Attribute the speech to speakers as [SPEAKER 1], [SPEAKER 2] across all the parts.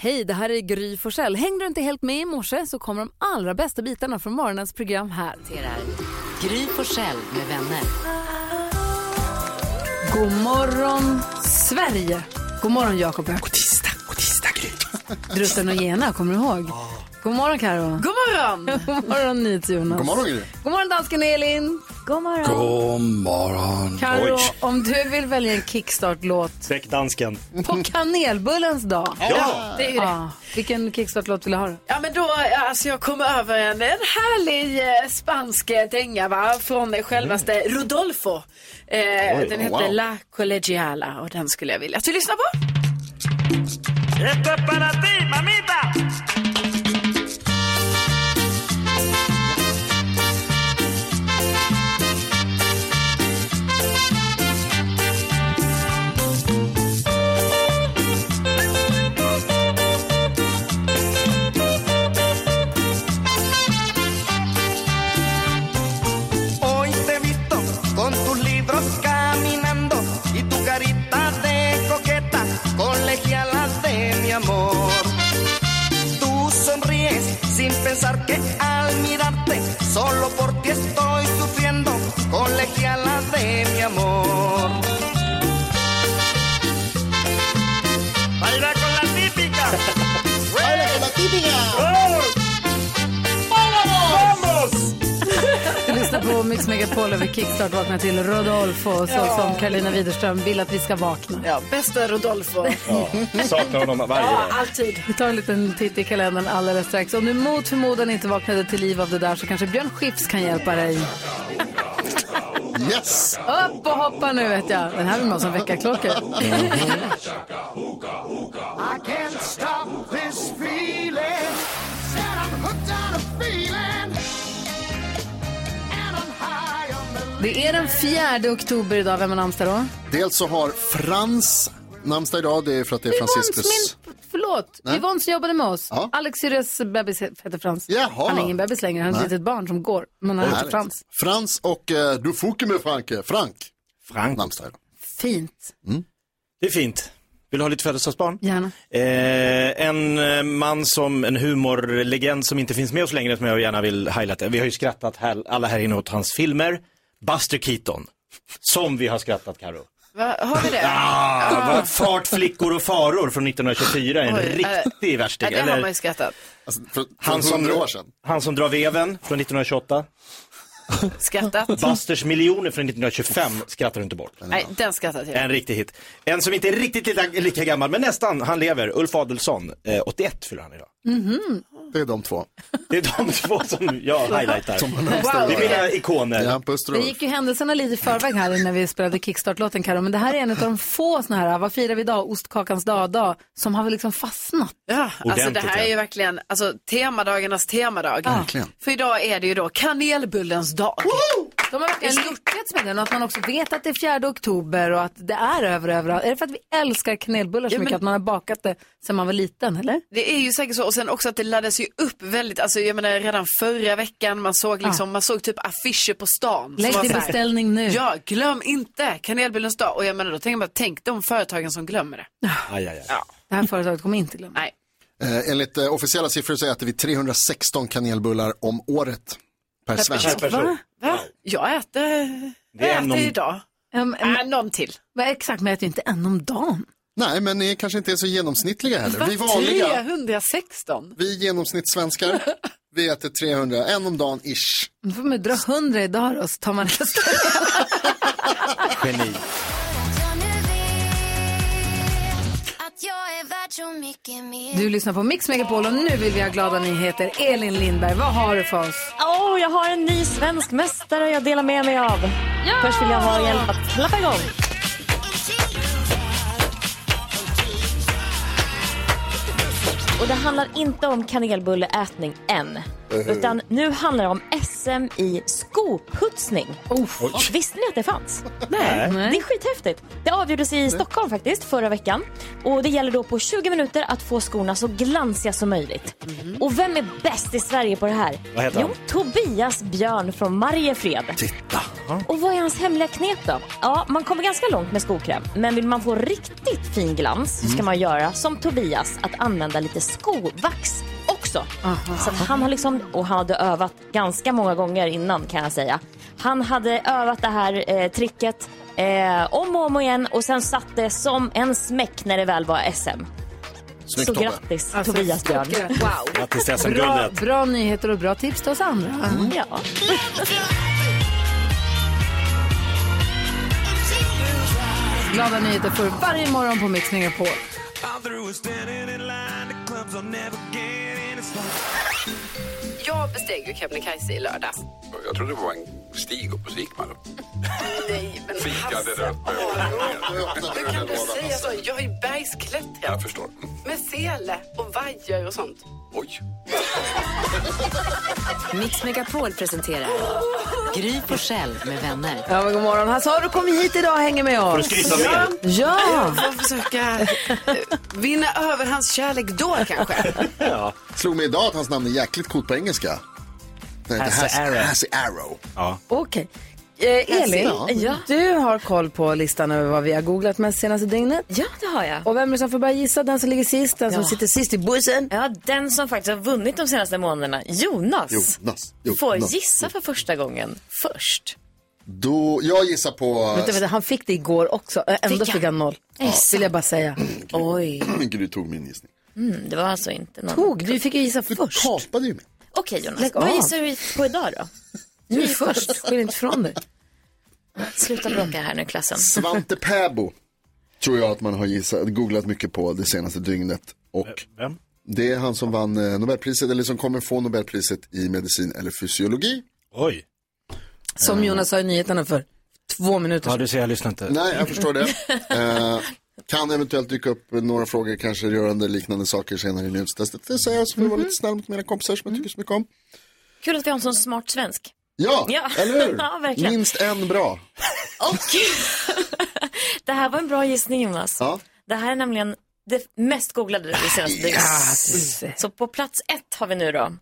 [SPEAKER 1] Hej, det här är Gry Forssell. Hängde du inte helt med i morse så kommer de allra bästa bitarna från morgonens program här.
[SPEAKER 2] Gry Forssell med vänner.
[SPEAKER 1] God morgon, Sverige! God morgon, Jakob. God tisdag, god tisdag, Gry. Drutten och Gena, kommer du ihåg? God morgon, Karo. God morgon! god morgon, NyhetsJonas.
[SPEAKER 3] God morgon, Gry.
[SPEAKER 1] God morgon, dansken Elin. God morgon.
[SPEAKER 3] God morgon.
[SPEAKER 1] Karo, om du vill välja en kickstart-låt
[SPEAKER 4] Väck dansken.
[SPEAKER 1] på kanelbullens dag.
[SPEAKER 4] Ja.
[SPEAKER 5] Det är ju det.
[SPEAKER 1] Ah, vilken kickstart-låt vill du ha?
[SPEAKER 5] Ja men då, alltså jag kom över en, en härlig eh, spansk eh, dänga va, från eh, självaste
[SPEAKER 4] Mm.
[SPEAKER 5] Rodolfo. Eh,
[SPEAKER 4] oh,
[SPEAKER 5] den heter
[SPEAKER 3] wow.
[SPEAKER 5] La Collegiala och den skulle jag vilja att vi lyssnar på.
[SPEAKER 6] Esto es para ti, mamita. Hoy te he visto con tus libros caminando y tu carita de coqueta, colegiala de mi amor. Tú sonríes sin pensar que al mirarte, solo por ti estoy sufriendo, colegiala de mi amor. Baila con la típica.
[SPEAKER 3] Baila con la típica.
[SPEAKER 6] ¡Vamos!
[SPEAKER 1] Du lyssnar på Mix Megapol över Kickstart Vakna till Rodolfo så som Karolina Widerström vill att vi ska vakna.
[SPEAKER 5] Ja, bästa Rodolfo.
[SPEAKER 4] Ja. Saknar honom varje
[SPEAKER 5] Ja,
[SPEAKER 4] dag.
[SPEAKER 5] alltid.
[SPEAKER 1] Vi tar en liten titt i kalendern alldeles strax. Om du mot förmodan inte vaknade till liv av det där så kanske Björn Skifs kan hjälpa dig.
[SPEAKER 3] Yes.
[SPEAKER 1] Upp och hoppa nu vet jag. Den här vill man som väckarklocka.
[SPEAKER 7] I can't stop this feeling. Said I'm hooked on a feeling. And I'm high on the
[SPEAKER 1] Det är den 4 oktober idag. Vem har namnsdag då?
[SPEAKER 3] Dels så har Frans namnsdag idag. Det är för att det är Franciscus.
[SPEAKER 1] Yvonnes, min... Förlåt. Yvonne som jobbade med oss.
[SPEAKER 3] Ja.
[SPEAKER 1] Alex Syres bebis heter Frans.
[SPEAKER 3] Jaha.
[SPEAKER 1] Han är ingen bebis längre. Han är ett litet barn som går. Men han heter
[SPEAKER 3] Härligt.
[SPEAKER 1] alltså Frans.
[SPEAKER 3] Frans och eh, du fucker med Franke. Frank.
[SPEAKER 4] Frank.
[SPEAKER 3] Namnsdag idag.
[SPEAKER 1] Fint.
[SPEAKER 4] Det är fint. Vill du ha lite födelsedagsbarn?
[SPEAKER 1] Gärna.
[SPEAKER 4] Eh, en eh, man som, en humorlegend som inte finns med oss längre som jag gärna vill highlighta. Vi har ju skrattat här, alla här inne åt hans filmer. Buster Keaton. Som vi har skrattat Karo.
[SPEAKER 5] Va, har vi det?
[SPEAKER 4] Ah, vad fart, flickor och faror från 1924. En
[SPEAKER 5] Oj, eh,
[SPEAKER 4] riktig
[SPEAKER 5] Ja,
[SPEAKER 4] värsting.
[SPEAKER 5] det har man ju skrattat.
[SPEAKER 3] Alltså, för, för
[SPEAKER 4] han, som,
[SPEAKER 3] 100 år sedan.
[SPEAKER 4] han som drar veven från 1928.
[SPEAKER 5] Skrattat.
[SPEAKER 4] Busters miljoner från 1925 skrattar du inte bort.
[SPEAKER 5] Nej, den skrattade jag.
[SPEAKER 4] En riktig hit. En som inte är riktigt lika, lika gammal, men nästan, han lever. Ulf Adelsohn, eh, 81 fyller han idag.
[SPEAKER 5] Mhm.
[SPEAKER 3] Det är de två.
[SPEAKER 4] Det är de två som jag highlightar.
[SPEAKER 5] Wow.
[SPEAKER 4] Det är mina ikoner.
[SPEAKER 3] Ja, Buster
[SPEAKER 1] Det
[SPEAKER 3] och
[SPEAKER 1] gick ju händelserna lite i förväg här när vi spelade Kickstart-låten, Karo. Men det här är en av de få såna här, vad firar vi idag? Ostkakans dag-dag, som har väl liksom fastnat.
[SPEAKER 5] Ja, alltså det
[SPEAKER 4] Ordentligt,
[SPEAKER 5] här
[SPEAKER 4] ja.
[SPEAKER 5] är ju verkligen alltså, temadagarnas temadag.
[SPEAKER 3] Verkligen.
[SPEAKER 5] För idag är det ju då kanelbullens dag.
[SPEAKER 1] De har verkligen lyckats med den och att man också vet att det är 4 oktober och att det är över överallt. Är det för att vi älskar kanelbullar så
[SPEAKER 5] Ja, men-
[SPEAKER 1] mycket att man har bakat det sedan man var liten, eller?
[SPEAKER 5] Det är ju säkert så och sen också att det laddades ju upp väldigt, alltså jag menar redan förra veckan man såg liksom, man såg typ affischer på stan. som
[SPEAKER 1] Lägg
[SPEAKER 5] var
[SPEAKER 1] din
[SPEAKER 5] så här,
[SPEAKER 1] beställning nu.
[SPEAKER 5] Ja, glöm inte kanelbullens dag och jag menar då tänker man, tänk de företagen som glömmer det.
[SPEAKER 4] Aj, aj, aj.
[SPEAKER 1] Det här företaget kommer inte glömma.
[SPEAKER 5] Nej,
[SPEAKER 3] Eh, enligt eh, officiella siffror så äter vi 316 kanelbullar om året. Per svensk.
[SPEAKER 4] Per person.
[SPEAKER 5] va? Jag äter, jag
[SPEAKER 4] är
[SPEAKER 5] äter
[SPEAKER 4] en om-
[SPEAKER 5] idag.
[SPEAKER 1] Um,
[SPEAKER 5] Äh, någon till.
[SPEAKER 1] exakt, men jag äter ju inte en om dagen.
[SPEAKER 3] Nej, men ni kanske inte är så genomsnittliga heller. Vi vanliga,
[SPEAKER 5] 316?
[SPEAKER 3] vi genomsnittssvenskar, vi äter 300, en om dagen ish.
[SPEAKER 1] Då får man dra 100 idag då, så tar man resten.
[SPEAKER 4] Geni.
[SPEAKER 1] Du lyssnar på Mix Megapol och nu vill vi ha glada nyheter. Elin Lindberg, vad har du för oss?
[SPEAKER 8] Åh, jag har en ny svensk mästare jag delar med mig av. Först vill jag ha hjälp att klappa igång. Och det handlar inte om kanelbulleätning än. Utan nu handlar det om SM i skoputsning. Visste ni att det fanns?
[SPEAKER 4] Nej.
[SPEAKER 8] Det är skithäftigt. Det avgjordes i Stockholm faktiskt förra veckan. Och Det gäller då på 20 minuter att få skorna så glansiga som möjligt.
[SPEAKER 4] Mhm.
[SPEAKER 8] Och vem är bäst i Sverige på det här?
[SPEAKER 4] Vad heter
[SPEAKER 8] jo,
[SPEAKER 4] han?
[SPEAKER 8] Tobias Björn från Mariefred.
[SPEAKER 3] Titta.
[SPEAKER 8] Och vad är hans hemliga knep då? Ja, man kommer ganska långt med skokräm, men vill man få riktigt fin glans så ska man göra som Tobias, att använda lite skovax också. Så att han har liksom, och han hade övat ganska många gånger innan kan jag säga. Han hade övat det här eh, tricket eh, om och om och igen och sen satt det som en smäck när det väl var SM.
[SPEAKER 3] Snyggt
[SPEAKER 8] så
[SPEAKER 3] Tobbe.
[SPEAKER 8] grattis Tobias Björn.
[SPEAKER 9] Wow.
[SPEAKER 4] Grattis till
[SPEAKER 9] Bra,
[SPEAKER 4] SM-guldet.
[SPEAKER 9] bra nyheter och bra tips till oss andra.
[SPEAKER 8] Mm, Ja.
[SPEAKER 9] Glada nyheter för varje morgon på Mix Megapol.
[SPEAKER 5] Jag besteg ju Kebnekaise i lördags.
[SPEAKER 10] Jag trodde det var en stig upp och så gick man upp.
[SPEAKER 5] Nej, men
[SPEAKER 10] Fikade där uppe.
[SPEAKER 5] Hur kan du säga så? Jag har ju bergsklättrat
[SPEAKER 10] Jag förstår.
[SPEAKER 5] med sele och vajer och sånt.
[SPEAKER 10] Oj.
[SPEAKER 2] Mix Megapol presenterar Gry på själv med vänner.
[SPEAKER 9] Ja, men god morgon. Hasse har du kommit hit idag och hänger med
[SPEAKER 4] Får du
[SPEAKER 9] oss?
[SPEAKER 4] skryta med?
[SPEAKER 9] Ja!
[SPEAKER 5] Jag får försöka eh, vinna över hans kärlek då kanske.
[SPEAKER 3] Slog mig idag att hans namn är jäkligt coolt på engelska. Det heter
[SPEAKER 4] Hasse
[SPEAKER 3] Hasse
[SPEAKER 4] Arrow.
[SPEAKER 3] Hasse Arrow.
[SPEAKER 1] Okej. Eh, Elin,
[SPEAKER 3] Ja.
[SPEAKER 1] du har koll på listan över vad vi har googlat mest senaste dygnet.
[SPEAKER 8] ja, det har jag.
[SPEAKER 1] Och vem är det som får börja gissa? Den som ligger sist, den som
[SPEAKER 8] Ja.
[SPEAKER 1] sitter sist i bussen.
[SPEAKER 8] Ja, den som faktiskt har vunnit de senaste månaderna, Jonas,
[SPEAKER 3] Jonas. Jonas.
[SPEAKER 8] får gissa för första gången först.
[SPEAKER 3] Då, jag gissar på...
[SPEAKER 1] Vänta, vänta, han fick det igår också. Äh, Ändå
[SPEAKER 8] Fick
[SPEAKER 1] fick,
[SPEAKER 8] jag?
[SPEAKER 1] han noll. Vill jag bara säga.
[SPEAKER 8] Oj,
[SPEAKER 3] Gud, du tog min gissning.
[SPEAKER 8] det var alltså inte någon.
[SPEAKER 1] Tog, du fick ju gissa
[SPEAKER 3] Du
[SPEAKER 1] först.
[SPEAKER 3] kapade ju mig.
[SPEAKER 8] Okej Jonas,
[SPEAKER 1] Lägg
[SPEAKER 8] vad
[SPEAKER 1] av.
[SPEAKER 8] gissar vi på idag då?
[SPEAKER 1] Du är först, skyll inte ifrån dig.
[SPEAKER 8] Sluta bråka här nu klassen.
[SPEAKER 3] Svante Pääbo tror jag att man har gissat, googlat mycket på det senaste dygnet. Och
[SPEAKER 4] Vem?
[SPEAKER 3] det är han som vann eh, Nobelpriset, eller som kommer få Nobelpriset i medicin eller fysiologi.
[SPEAKER 4] Oj.
[SPEAKER 1] Som Jonas sa i nyheterna för två minuter
[SPEAKER 4] Ja,
[SPEAKER 1] sedan.
[SPEAKER 4] du ser, jag lyssnar inte.
[SPEAKER 3] Nej, jag förstår det. Eh, kan eventuellt dyka upp några frågor kanske rörande liknande saker senare i nyhetstestet. Det säger jag så för att vara lite snäll mot mina kompisar som jag tycker så mycket om.
[SPEAKER 8] Mhm. Kul att vi har en sån smart svensk.
[SPEAKER 3] Ja,
[SPEAKER 8] Ja.
[SPEAKER 3] eller hur?
[SPEAKER 8] Ja, verkligen.
[SPEAKER 3] Minst en bra.
[SPEAKER 8] Och det här var en bra gissning Jonas.
[SPEAKER 3] Ja.
[SPEAKER 8] Det här är nämligen det mest googlade det senaste dygnet. Så på plats ett har vi nu då,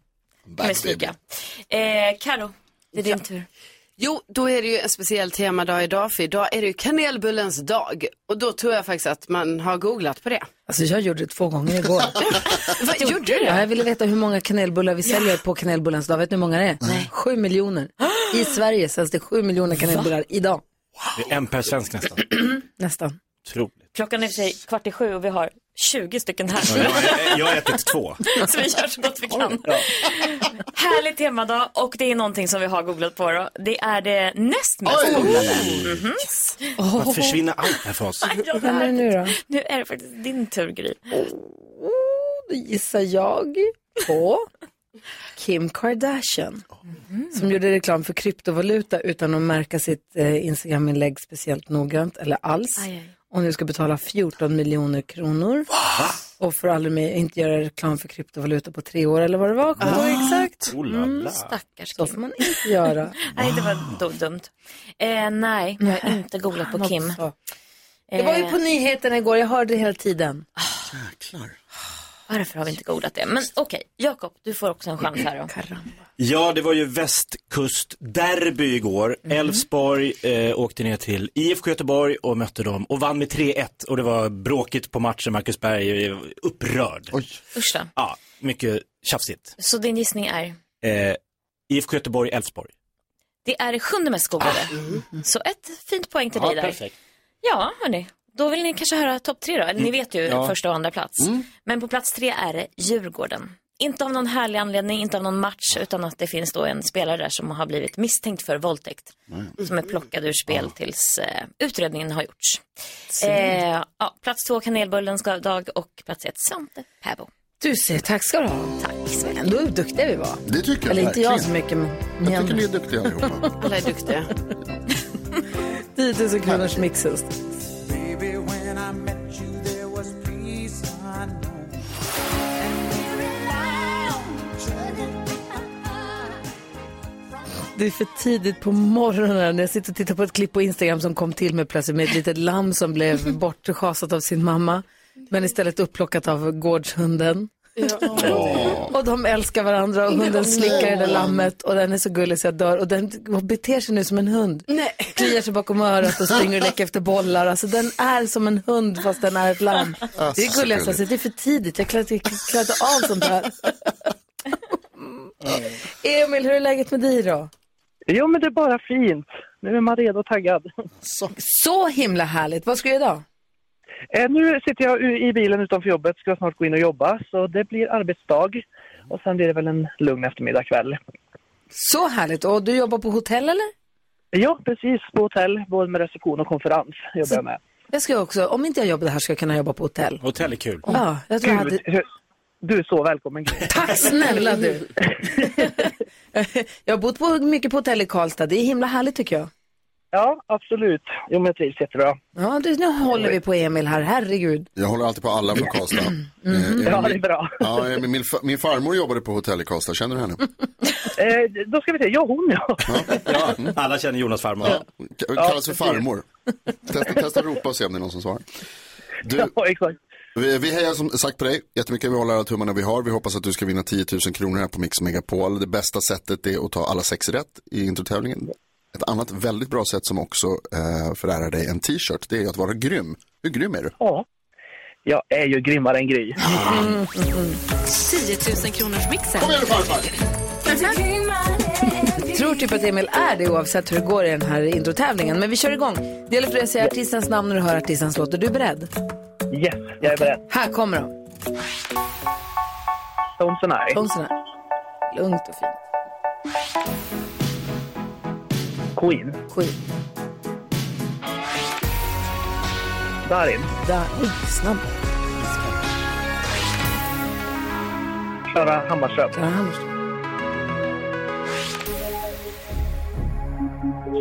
[SPEAKER 8] kan vi stryka. Eh, Karo, det är din tur.
[SPEAKER 5] Jo, då är det ju en speciell temadag idag för idag är det ju kanelbullens dag. Och då tror jag faktiskt att man har googlat på det.
[SPEAKER 1] Alltså jag gjorde det två gånger igår.
[SPEAKER 5] Vad gjorde du
[SPEAKER 1] Ja,
[SPEAKER 5] det?
[SPEAKER 1] jag ville veta hur många kanelbullar vi säljer på kanelbullens dag. Vet ni hur många det är? Nej. Sju miljoner. I Sverige säljs det sju miljoner kanelbullar idag.
[SPEAKER 4] Det är en per svensk nästan.
[SPEAKER 1] Nästan.
[SPEAKER 4] Otroligt.
[SPEAKER 8] Klockan är i och för sig kvart i sju och vi har 20 stycken här.
[SPEAKER 4] Jag- Jag har ätit två.
[SPEAKER 8] Så vi gör så gott vi kan. Härlig temadag och det är någonting som vi har googlat på då. Det är det näst mest
[SPEAKER 3] Oj!
[SPEAKER 8] googlade.
[SPEAKER 4] Att försvinna allt här för oss.
[SPEAKER 8] Ja, det
[SPEAKER 1] Vem är
[SPEAKER 8] är
[SPEAKER 1] det nu då?
[SPEAKER 8] Nu är det faktiskt din tur Gry.
[SPEAKER 1] Då gissar jag på Kim Kardashian.
[SPEAKER 8] Mm-hmm.
[SPEAKER 1] Som gjorde reklam för kryptovaluta utan att märka sitt eh, Instagram-inlägg speciellt noggrant eller alls.
[SPEAKER 8] Aj, aj.
[SPEAKER 1] Och nu ska betala 14 miljoner kronor. Och får aldrig mer, inte göra reklam för kryptovaluta på tre år eller vad det var. Kommer jag ihåg exakt. Mm.
[SPEAKER 4] Oh la la.
[SPEAKER 8] Stackars
[SPEAKER 1] Så
[SPEAKER 8] Kim.
[SPEAKER 1] får man inte göra.
[SPEAKER 8] Nej, det var do- dumt. Eh, nej, jag har inte googlat på Kim.
[SPEAKER 1] Så. Det var ju
[SPEAKER 8] Eh,
[SPEAKER 1] på nyheterna igår, jag hörde det hela tiden.
[SPEAKER 8] Varför har vi inte googlat det? Men okej, Jakob, du får också en chans här då.
[SPEAKER 4] Ja, det var ju västkustderby igår. Elfsborg eh, åkte ner till IFK Göteborg och mötte dem och vann med 3-1. Och det var bråkigt på matchen, Marcus Berg är upprörd.
[SPEAKER 3] Oj,
[SPEAKER 8] Usch då.
[SPEAKER 4] Ja, mycket tjafsigt.
[SPEAKER 8] Så din gissning är?
[SPEAKER 4] Eh, IFK Göteborg, Elfsborg.
[SPEAKER 8] Det är det sjunde mest googlade. Så ett fint poäng till dig där.
[SPEAKER 4] Ah. Mm. perfekt.
[SPEAKER 8] Ja, hörni. Då vill ni kanske höra topp tre då. Eller
[SPEAKER 11] Mm.
[SPEAKER 8] ni vet ju första och andra plats. Men på plats tre är det Djurgården. Inte av någon härlig anledning, inte av någon match, utan att det finns då en spelare där som har blivit misstänkt för våldtäkt.
[SPEAKER 11] Mm.
[SPEAKER 8] Som är plockad ur spel tills eh, utredningen har gjorts. Eh, ja, plats två, kanelbullens dag och plats ett, Svante Pääbo.
[SPEAKER 1] Du ser, tack ska du ha.
[SPEAKER 8] Tack så mycket.
[SPEAKER 1] Ändå duktiga vi var.
[SPEAKER 3] det tycker jag
[SPEAKER 1] Eller inte jag så
[SPEAKER 3] verkligen.
[SPEAKER 1] mycket, men ni
[SPEAKER 3] Jag tycker
[SPEAKER 1] andra.
[SPEAKER 3] ni är duktiga allihopa.
[SPEAKER 5] Alla är duktiga.
[SPEAKER 1] 10 000 kronors mixhus. Det är för tidigt på morgonen. Jag sitter och tittar på ett klipp på Instagram som kom till mig plötsligt med ett litet lamm som blev bortschasat av sin mamma. Men istället upplockat av gårdshunden. Och de älskar varandra och hunden slickar det där lammet och den är så gullig så jag dör. Och den beter sig nu som en hund.
[SPEAKER 5] Nej.
[SPEAKER 1] Kliar sig bakom örat och springer och leker efter bollar. Alltså den är som en hund fast den är ett lamm.
[SPEAKER 5] Ah,
[SPEAKER 1] Det är
[SPEAKER 5] så
[SPEAKER 1] gulligast, alltså,
[SPEAKER 5] gulligt.
[SPEAKER 1] det är för tidigt. Jag klarar inte klarar inte av sånt här. Emil, hur är läget med dig då?
[SPEAKER 7] Jo, men det är bara fint. Nu är man redo och taggad.
[SPEAKER 1] Så, himla härligt. Vad ska du göra idag?
[SPEAKER 7] Eh, nu sitter jag u- i bilen utanför jobbet, ska jag snart gå in och jobba. Så det blir arbetsdag och sen blir det väl en lugn eftermiddag kväll.
[SPEAKER 1] Så härligt. Och du jobbar på hotell eller?
[SPEAKER 7] Ja, precis. På hotell, både med reception och konferens jobbar jag med.
[SPEAKER 1] Jag ska också, om inte jag jobbar här ska jag kunna jobba på hotell.
[SPEAKER 4] Hotell är kul.
[SPEAKER 1] Ja, jag tror jag hade...
[SPEAKER 7] Du, du är så välkommen.
[SPEAKER 1] Tack snälla du. jag har bott på, mycket på hotell i Karlstad. Det är himla härligt tycker jag.
[SPEAKER 7] Ja, absolut. Jo, men jag trivs jättebra.
[SPEAKER 1] Ja, du, nu håller vi på Emil här. Herregud.
[SPEAKER 3] Jag håller alltid på alla från Karlstad.
[SPEAKER 1] Mhm.
[SPEAKER 3] Eh,
[SPEAKER 1] Ja,
[SPEAKER 3] Emil-
[SPEAKER 1] det är bra.
[SPEAKER 3] Ja, Emil, min, fa- min farmor jobbade på hotell i Karlstad, känner du henne?
[SPEAKER 7] Eh, då ska vi se. Ja, hon ja.
[SPEAKER 4] Ja, alla känner Jonas farmor.
[SPEAKER 3] Mm. K- Kallas för farmor. Testa, testa ropa och se om det är någon som svarar. Du, vi, vi hejar som sagt på dig jättemycket. Vi håller alla tummarna vi har. Vi hoppas att du ska vinna 10 000 kronor här på Mix Megapol. Det bästa sättet är att ta alla sex rätt i introtävlingen. Ett annat väldigt bra sätt som också eh, förärar dig en t-shirt, det är att vara grym. Hur grym är du?
[SPEAKER 7] Ja. Jag är ju grymmare än Gry.
[SPEAKER 2] 10 000
[SPEAKER 1] Mm,
[SPEAKER 2] kronors mixen.
[SPEAKER 3] Kom igen nu farfar!
[SPEAKER 1] Tror typ att Emil är det oavsett hur det går i den här introtävlingen. Men vi kör igång. Det gäller för dig att säga artistens namn när du hör artistens låt. Är du beredd?
[SPEAKER 7] Yes, jag är beredd.
[SPEAKER 1] Här kommer de.
[SPEAKER 7] Stones and I.
[SPEAKER 1] Stones and I. Lugnt och fint.
[SPEAKER 7] Queen.
[SPEAKER 1] Queen.
[SPEAKER 7] Darin.
[SPEAKER 1] Där. Oj, snabb.
[SPEAKER 7] Klara Hammarström.
[SPEAKER 1] Klara Hammarström.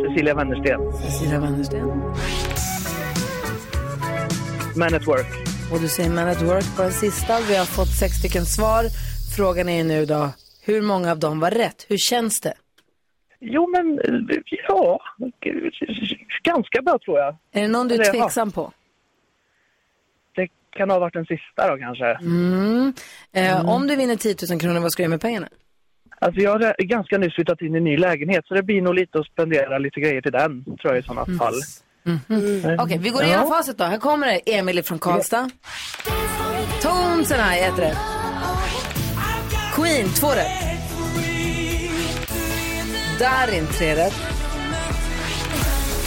[SPEAKER 7] Cecilia Wennersten.
[SPEAKER 1] Cecilia Wennersten.
[SPEAKER 7] Man at Work.
[SPEAKER 1] Och du säger Man at Work på den sista. Vi har fått sex stycken svar. Frågan är nu då, hur många av dem var rätt? Hur känns det?
[SPEAKER 7] Jo, men eh, ja, g- ganska bra tror jag.
[SPEAKER 1] Är det någon du
[SPEAKER 7] Eller,
[SPEAKER 1] är
[SPEAKER 7] ja,
[SPEAKER 1] tveksam på?
[SPEAKER 7] Det kan ha varit den sista då kanske.
[SPEAKER 1] Mm. Eh, Om du vinner 10 000 kronor, vad ska du göra med pengarna?
[SPEAKER 7] Alltså jag har eh, ganska nyss flyttat in i en ny lägenhet så det blir nog lite att spendera lite grejer till den tror jag i sådana
[SPEAKER 1] Mm.
[SPEAKER 7] fall. Mm.
[SPEAKER 1] Okej, vi går igenom facit då. Här kommer det. Emil från Karlstad. Tones and I, ett rätt. Queen, två rätt. Darin, tre rätt.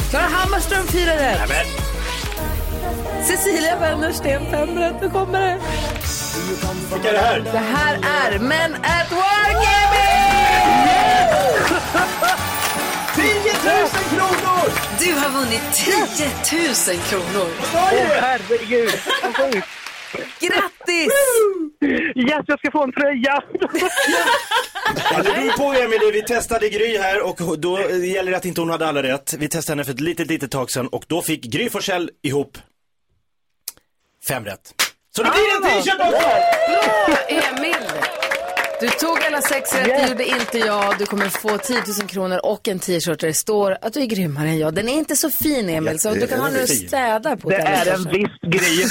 [SPEAKER 1] Klara Hammarström, fyra rätt. Cecilia Wennersten, fem rätt. Nu kommer det.
[SPEAKER 4] Vilka är det här?
[SPEAKER 1] Det här är Men at Work, Emil!
[SPEAKER 4] 10 000 kronor!
[SPEAKER 2] Du har vunnit 10 000 kronor.
[SPEAKER 7] Åh herregud!
[SPEAKER 1] Grattis!
[SPEAKER 7] Yes, jag ska få en tröja!
[SPEAKER 4] Ja, det beror på Emelie, vi testade Gry här och då eh, gäller det att inte hon hade alla rätt. Vi testade henne för ett litet, litet tag sedan och då fick Gry Forssell ihop fem rätt. Så det blir en t-shirt också!
[SPEAKER 9] Bra, Emil!
[SPEAKER 1] Du tog alla sex rätt, det gjorde inte jag. Du kommer få 10 000 kronor och en t-shirt där det står att du är grymmare än jag. Den är inte så fin, Emil, så
[SPEAKER 7] Jätte-
[SPEAKER 1] du kan ha
[SPEAKER 7] den är
[SPEAKER 1] nu och
[SPEAKER 7] fin.
[SPEAKER 1] städa på
[SPEAKER 7] Det
[SPEAKER 1] den
[SPEAKER 7] är en
[SPEAKER 1] kanske.
[SPEAKER 7] viss grej.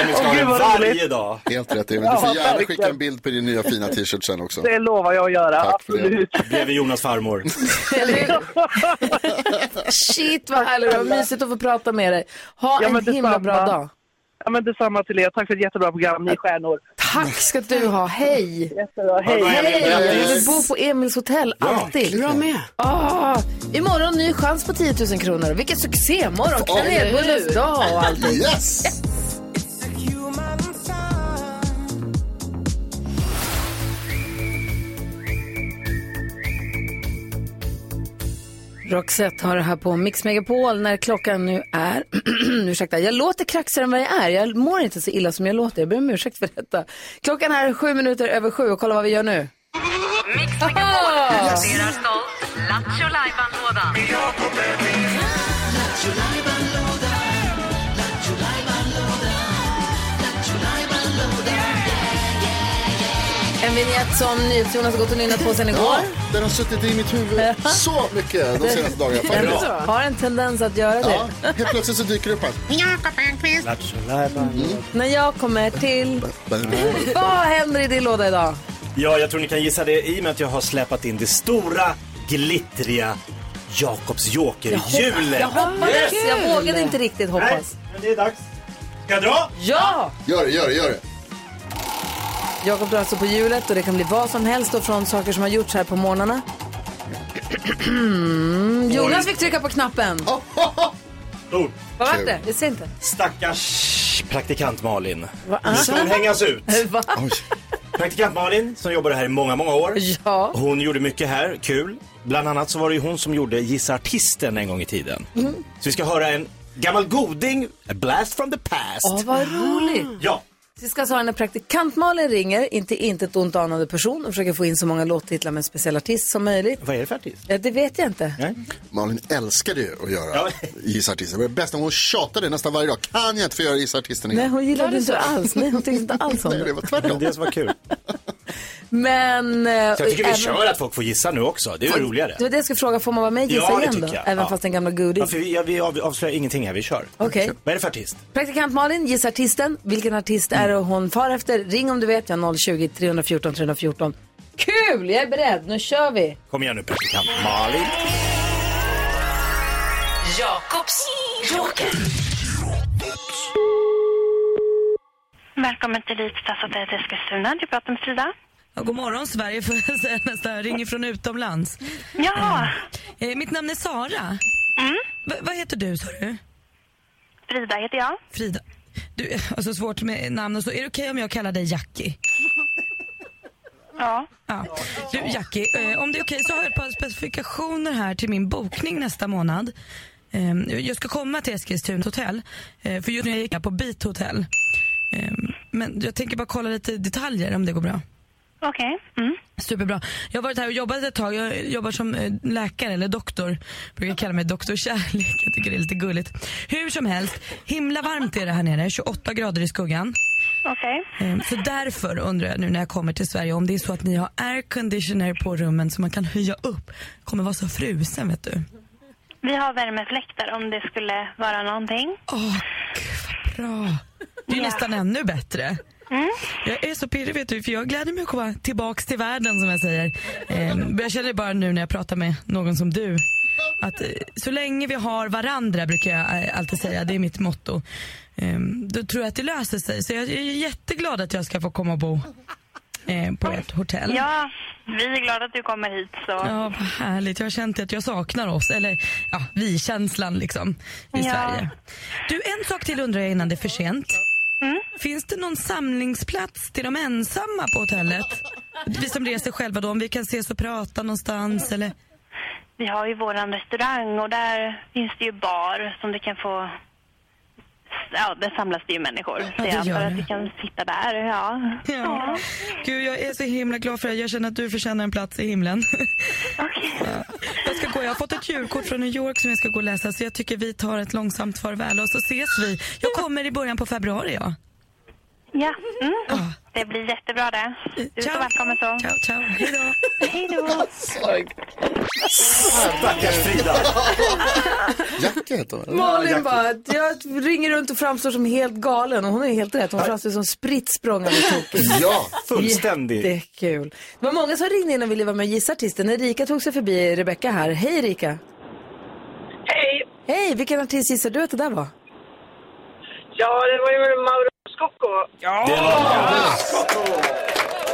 [SPEAKER 4] Emil ska
[SPEAKER 7] Åh,
[SPEAKER 4] ha
[SPEAKER 7] gud,
[SPEAKER 4] den
[SPEAKER 7] vad
[SPEAKER 4] varje dag.
[SPEAKER 3] Helt rätt Emil. Du får
[SPEAKER 7] Ja,
[SPEAKER 3] gärna
[SPEAKER 7] verkligen.
[SPEAKER 3] skicka en bild på din nya fina t-shirt sen också.
[SPEAKER 7] Det lovar jag att göra,
[SPEAKER 3] Tack för det.
[SPEAKER 7] absolut.
[SPEAKER 4] Bredvid Jonas farmor.
[SPEAKER 1] Shit, vad härligt. Det var mysigt att få prata med dig. Ha en himla bra dag.
[SPEAKER 7] Ja, men detsamma till er. Tack för ett jättebra program, ni är stjärnor.
[SPEAKER 1] Tack ska du ha. Hej!
[SPEAKER 7] Jättebra, hej.
[SPEAKER 1] Hej! Jag vill
[SPEAKER 7] Grattis.
[SPEAKER 1] bo Eh, på Emils hotell,
[SPEAKER 7] Ja,
[SPEAKER 1] alltid.
[SPEAKER 7] verkligen. Jag med.
[SPEAKER 1] Ah, imorgon ny chans på 10 000 kronor. Vilken succé! Morgon,
[SPEAKER 12] Oj.
[SPEAKER 1] kanelbullens dag och allt.
[SPEAKER 12] Yes.
[SPEAKER 1] Roxette har det här på Mix Megapol när klockan nu är, ursäkta, jag låter kraxigare än vad jag är. Jag mår inte så illa som jag låter, jag ber om ursäkt för detta. Klockan är sju minuter över sju och kolla vad vi gör nu.
[SPEAKER 12] Mix
[SPEAKER 1] Megapol
[SPEAKER 12] presenterar stolt Lattjo Lajban-lådan.
[SPEAKER 1] En vignett som NyhetsJonas har gått och nynnat på sen igår.
[SPEAKER 3] Ja, den har suttit i mitt huvud så mycket de senaste dagarna. Fan,
[SPEAKER 1] Den
[SPEAKER 3] bra.
[SPEAKER 1] har en tendens att göra
[SPEAKER 3] Ja,
[SPEAKER 1] det.
[SPEAKER 3] helt plötsligt så dyker det upp här.
[SPEAKER 1] När jag kommer till...
[SPEAKER 3] Mm.
[SPEAKER 1] Vad händer i din låda idag?
[SPEAKER 4] Ja, jag tror ni kan gissa det i och med att jag har släpat in det stora, glittriga Jakobs Joker-hjulet.
[SPEAKER 1] Jag hoppades, jag vågade inte riktigt hoppas.
[SPEAKER 4] men det är dags. Ska jag dra?
[SPEAKER 1] Ja!
[SPEAKER 3] Gör det, gör det, gör det.
[SPEAKER 1] Jakob drar alltså på hjulet och det kan bli vad som helst och från saker som har gjorts här på morgnarna. Jonas fick trycka på knappen.
[SPEAKER 4] Stor.
[SPEAKER 1] Vad var det? Jag ser inte.
[SPEAKER 4] Stackars praktikant Malin.
[SPEAKER 1] Va?
[SPEAKER 4] Nu ska hon hängas ut.
[SPEAKER 1] Va?
[SPEAKER 4] Praktikant Malin som jobbade här i många, många år.
[SPEAKER 1] Ja.
[SPEAKER 4] Hon gjorde mycket här, kul. Bland annat så var det ju hon som gjorde Gissa Artisten en gång i tiden.
[SPEAKER 1] Mm.
[SPEAKER 4] Så vi ska höra en gammal goding, a blast from the past. Ah.
[SPEAKER 1] Åh, vad roligt.
[SPEAKER 4] Ja.
[SPEAKER 1] Så Vi ska alltså ha när praktikant Malin ringer, inte intet ont anande person och försöker få in så många låttitlar med en speciell artist som möjligt.
[SPEAKER 4] Vad är det för artist?
[SPEAKER 1] Ja, det vet jag inte.
[SPEAKER 3] Malin älskade ju att göra gissartisten. Det var det bästa. Hon tjatade nästan varje dag. Kan jag inte få göra gissartisten
[SPEAKER 1] Nej,
[SPEAKER 3] igen?
[SPEAKER 1] hon gillade inte det alls. Nej, hon tyckte inte alls om
[SPEAKER 3] Nej, det
[SPEAKER 1] det.
[SPEAKER 3] var tvärtom.
[SPEAKER 4] Det som var kul.
[SPEAKER 1] Men... eh,
[SPEAKER 4] Så jag tycker vi
[SPEAKER 1] även-
[SPEAKER 4] kör att folk får gissa nu också. Det är ju roligare.
[SPEAKER 1] Det var det jag skulle fråga, får man vara med och gissa
[SPEAKER 4] Ja, det
[SPEAKER 1] igen då?
[SPEAKER 4] tycker jag.
[SPEAKER 1] Även
[SPEAKER 4] Ja.
[SPEAKER 1] fast den gamla godis.
[SPEAKER 4] Ja, för vi, ja, vi av- avslöjar ingenting här, vi kör.
[SPEAKER 1] Okej.
[SPEAKER 4] Vad är det för artist?
[SPEAKER 1] Praktikant Malin, gissa artisten. Vilken artist är det
[SPEAKER 4] Mm.
[SPEAKER 1] hon far efter? Ring om du vet, jag har 020 314 314. Kul, jag är beredd. Nu kör vi.
[SPEAKER 4] Kom igen nu praktikant Malin.
[SPEAKER 13] Jakobs Joker.
[SPEAKER 14] Välkommen till Elitstadshotellet Eskilstuna. Du pratar med Frida.
[SPEAKER 15] Ja, god morgon Sverige, får jag säga nästan. Jag ringer från utomlands.
[SPEAKER 14] Ja. Mm.
[SPEAKER 15] Eh, mitt namn är Sara. Va- vad heter du sa du?
[SPEAKER 14] Frida heter jag.
[SPEAKER 15] Frida. Du, alltså svårt med namn och så. Är det okej om jag kallar dig Jackie?
[SPEAKER 14] Ja.
[SPEAKER 15] Du Jackie, eh, om det är okej så har jag ett par specifikationer här till min bokning nästa månad. Eh, jag ska komma till Eskilstuna hotell, eh, för just nu gick jag på Beat Hotel. Eh, men jag tänker bara kolla lite detaljer om det går bra.
[SPEAKER 14] Okej. Mm.
[SPEAKER 15] Superbra. Jag har varit här och jobbat ett tag. Jag jobbar som eh, läkare eller doktor. Brukar kalla mig doktor kärlek. Jag tycker det är lite gulligt. Hur som helst, himla varmt är det här nere. 28 grader i skuggan.
[SPEAKER 14] Okej.
[SPEAKER 15] Eh, Så därför undrar jag nu när jag kommer till Sverige om det är så att ni har airconditioner på rummen så man kan höja upp. Kommer vara så frusen vet du.
[SPEAKER 14] Vi har värmefläktar om det skulle vara någonting.
[SPEAKER 15] Bra. Det är ju nästan ännu bättre. Jag är så pirrig vet du, för jag gläder mig att komma tillbaks till världen som jag säger. Eh, men jag känner bara nu när jag pratar med någon som du att eh, så länge vi har varandra brukar jag eh, alltid säga, det är mitt motto. Eh, då tror jag att det löser sig. Så jag är jätteglad att jag ska få komma och bo eh, på ert hotell.
[SPEAKER 14] Ja, vi är glada att du kommer hit. Så.
[SPEAKER 15] Ja, vad härligt. Jag har känt att jag saknar oss, eller ja, vi-känslan liksom, i
[SPEAKER 14] Ja.
[SPEAKER 15] Sverige. Du, en sak till undrar jag innan det är för sent. Finns det någon samlingsplats till de ensamma på hotellet? Vi som reser själva då, om vi kan ses och prata någonstans eller?
[SPEAKER 14] Vi har ju våran restaurang och där finns det ju bar som du kan få... Ja, där samlas det ju människor.
[SPEAKER 15] Ja, det
[SPEAKER 14] så jag
[SPEAKER 15] gör
[SPEAKER 14] antar att
[SPEAKER 15] det.
[SPEAKER 14] du kan sitta där. Ja.
[SPEAKER 15] Ja. Gud, jag är så himla glad för det. Jag känner att du förtjänar en plats i himlen. Ja. Jag ska gå. Jag har fått ett julkort från New York som jag ska gå och läsa så jag tycker vi tar ett långsamt farväl och så ses vi. Jag kommer i början på februari, ja.
[SPEAKER 14] ja. Mm. Det blir jättebra det. Du är så välkommen så.
[SPEAKER 15] Ciao, ciao. Hej då.
[SPEAKER 14] Hej då.
[SPEAKER 4] Stackars Frida.
[SPEAKER 3] Jacke heter hon.
[SPEAKER 1] Malin bara, jag ringer runt och framstår som helt galen och hon är helt rätt. Hon framstår som spritt språngande tokig.
[SPEAKER 4] Ja, fullständig.
[SPEAKER 1] Jättekul. Det var många som ringde in och ville vara med och gissa artisten. Erika tog sig förbi Rebecca här. Hej Erika.
[SPEAKER 6] Hej!
[SPEAKER 1] Hej, vilken artist gissar du att det där var?
[SPEAKER 6] Ja, det var ju Mauro Scocco. Ja!
[SPEAKER 1] Det var Mauro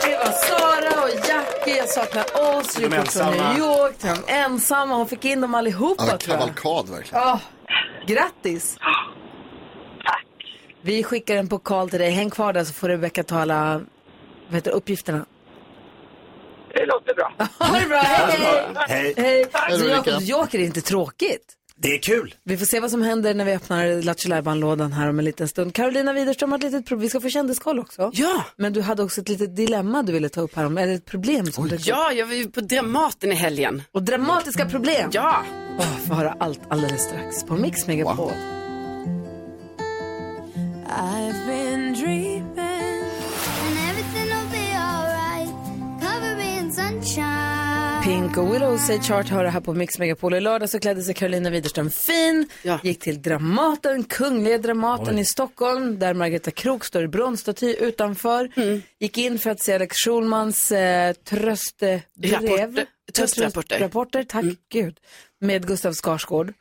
[SPEAKER 1] Det var Sara och Jackie, jag saknar oss,
[SPEAKER 3] De
[SPEAKER 1] Rikard från
[SPEAKER 3] ensamma.
[SPEAKER 1] New York, de ensamma. Hon fick in dem allihopa
[SPEAKER 3] Ja,
[SPEAKER 1] tror jag.
[SPEAKER 3] kavalkad verkligen.
[SPEAKER 1] Ja, grattis! Tack! Vi skickar en pokal till dig. Häng kvar där så får Rebecca ta alla vad heter, det, uppgifterna.
[SPEAKER 6] Det låter bra.
[SPEAKER 1] Ha det bra,
[SPEAKER 4] Hej!
[SPEAKER 1] Hej!
[SPEAKER 6] Tack.
[SPEAKER 1] Så
[SPEAKER 6] Hej, Ulrika.
[SPEAKER 1] Jakobs Alltså, Joker är inte tråkigt.
[SPEAKER 4] Det är kul.
[SPEAKER 1] Vi får se vad som händer när vi öppnar Lattjo lådan här om en liten stund. Carolina Widerström har ett litet problem. Vi ska få kändiskoll också.
[SPEAKER 5] Ja!
[SPEAKER 1] Men du hade också ett litet dilemma du ville ta upp här om, eller ett problem som du
[SPEAKER 5] Ja, jag var ju på Dramaten i helgen.
[SPEAKER 1] Och dramatiska problem?
[SPEAKER 5] Ja.
[SPEAKER 1] Oh, får höra allt alldeles strax på Mix Megapol.
[SPEAKER 7] I've been dreaming. And everything'll be alright.
[SPEAKER 1] Pink och Willow Osage Chart hör det här på Mix Megapol. I lördag så klädde sig Carolina Widerström fin, gick till Dramaten, Kungliga Dramaten
[SPEAKER 9] Oj.
[SPEAKER 1] i Stockholm, där Margareta Krok står i bronsstaty utanför.
[SPEAKER 5] Mm.
[SPEAKER 1] Gick in för att se Alex Schulmans eh, tröstebrev.
[SPEAKER 5] Rapporter. Mm. Tröstrapporter.
[SPEAKER 1] Rapporter, tack gud. Med Gustav Skarsgård.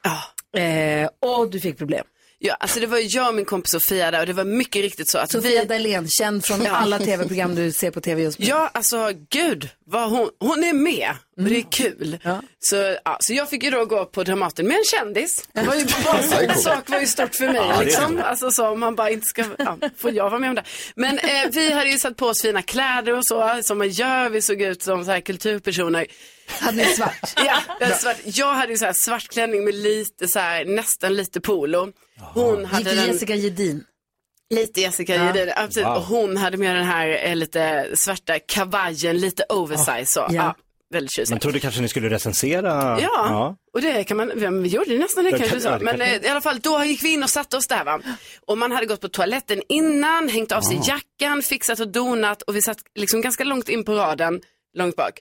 [SPEAKER 1] Eh, och du fick problem.
[SPEAKER 5] Ja, alltså det var ju jag och min kompis Sofia där och det var mycket riktigt så att
[SPEAKER 1] Sofia Dalén, känd från
[SPEAKER 5] Ja.
[SPEAKER 1] alla tv-program du ser på tv just nu.
[SPEAKER 5] Ja, alltså gud, vad hon, hon är med och
[SPEAKER 1] Mm.
[SPEAKER 5] det är kul. Så, ja, så jag fick ju då gå på Dramaten med en kändis. Det var ju bara en sån sak var ju stort för mig.
[SPEAKER 1] Ja, det är
[SPEAKER 5] liksom.
[SPEAKER 1] coolt.
[SPEAKER 5] Alltså så, om man bara inte ska, ja, får jag vara med om det? Men eh, vi hade ju satt på oss fina kläder och så, som man gör, vi såg ut som så här kulturpersoner.
[SPEAKER 1] Hade ni svart?
[SPEAKER 5] ja, jag hade, svart. Jag hade ju så här svart klänning med lite så här, nästan lite polo. Hon hade
[SPEAKER 1] Gick
[SPEAKER 5] den-
[SPEAKER 1] Jessica Gedin?
[SPEAKER 5] Lite Jessica
[SPEAKER 1] Ja.
[SPEAKER 5] Gedin, absolut.
[SPEAKER 1] Wow.
[SPEAKER 5] Och hon hade med den här eh, lite svarta kavajen, lite oversize så.
[SPEAKER 4] ja.
[SPEAKER 5] Ja, väldigt tjusigt.
[SPEAKER 4] Man trodde kanske ni skulle recensera.
[SPEAKER 5] Ja. och det kan man, vem gjorde det nästan det
[SPEAKER 4] Ja, kan-
[SPEAKER 5] kanske du sa.
[SPEAKER 4] ja, det
[SPEAKER 5] Men
[SPEAKER 4] kanske-
[SPEAKER 5] eh, i alla fall, då gick vi in och satte oss där va. Och man hade gått på toaletten innan, hängt av sig
[SPEAKER 9] Ah.
[SPEAKER 5] jackan, fixat och donat och vi satt liksom ganska långt in på raden, långt bak.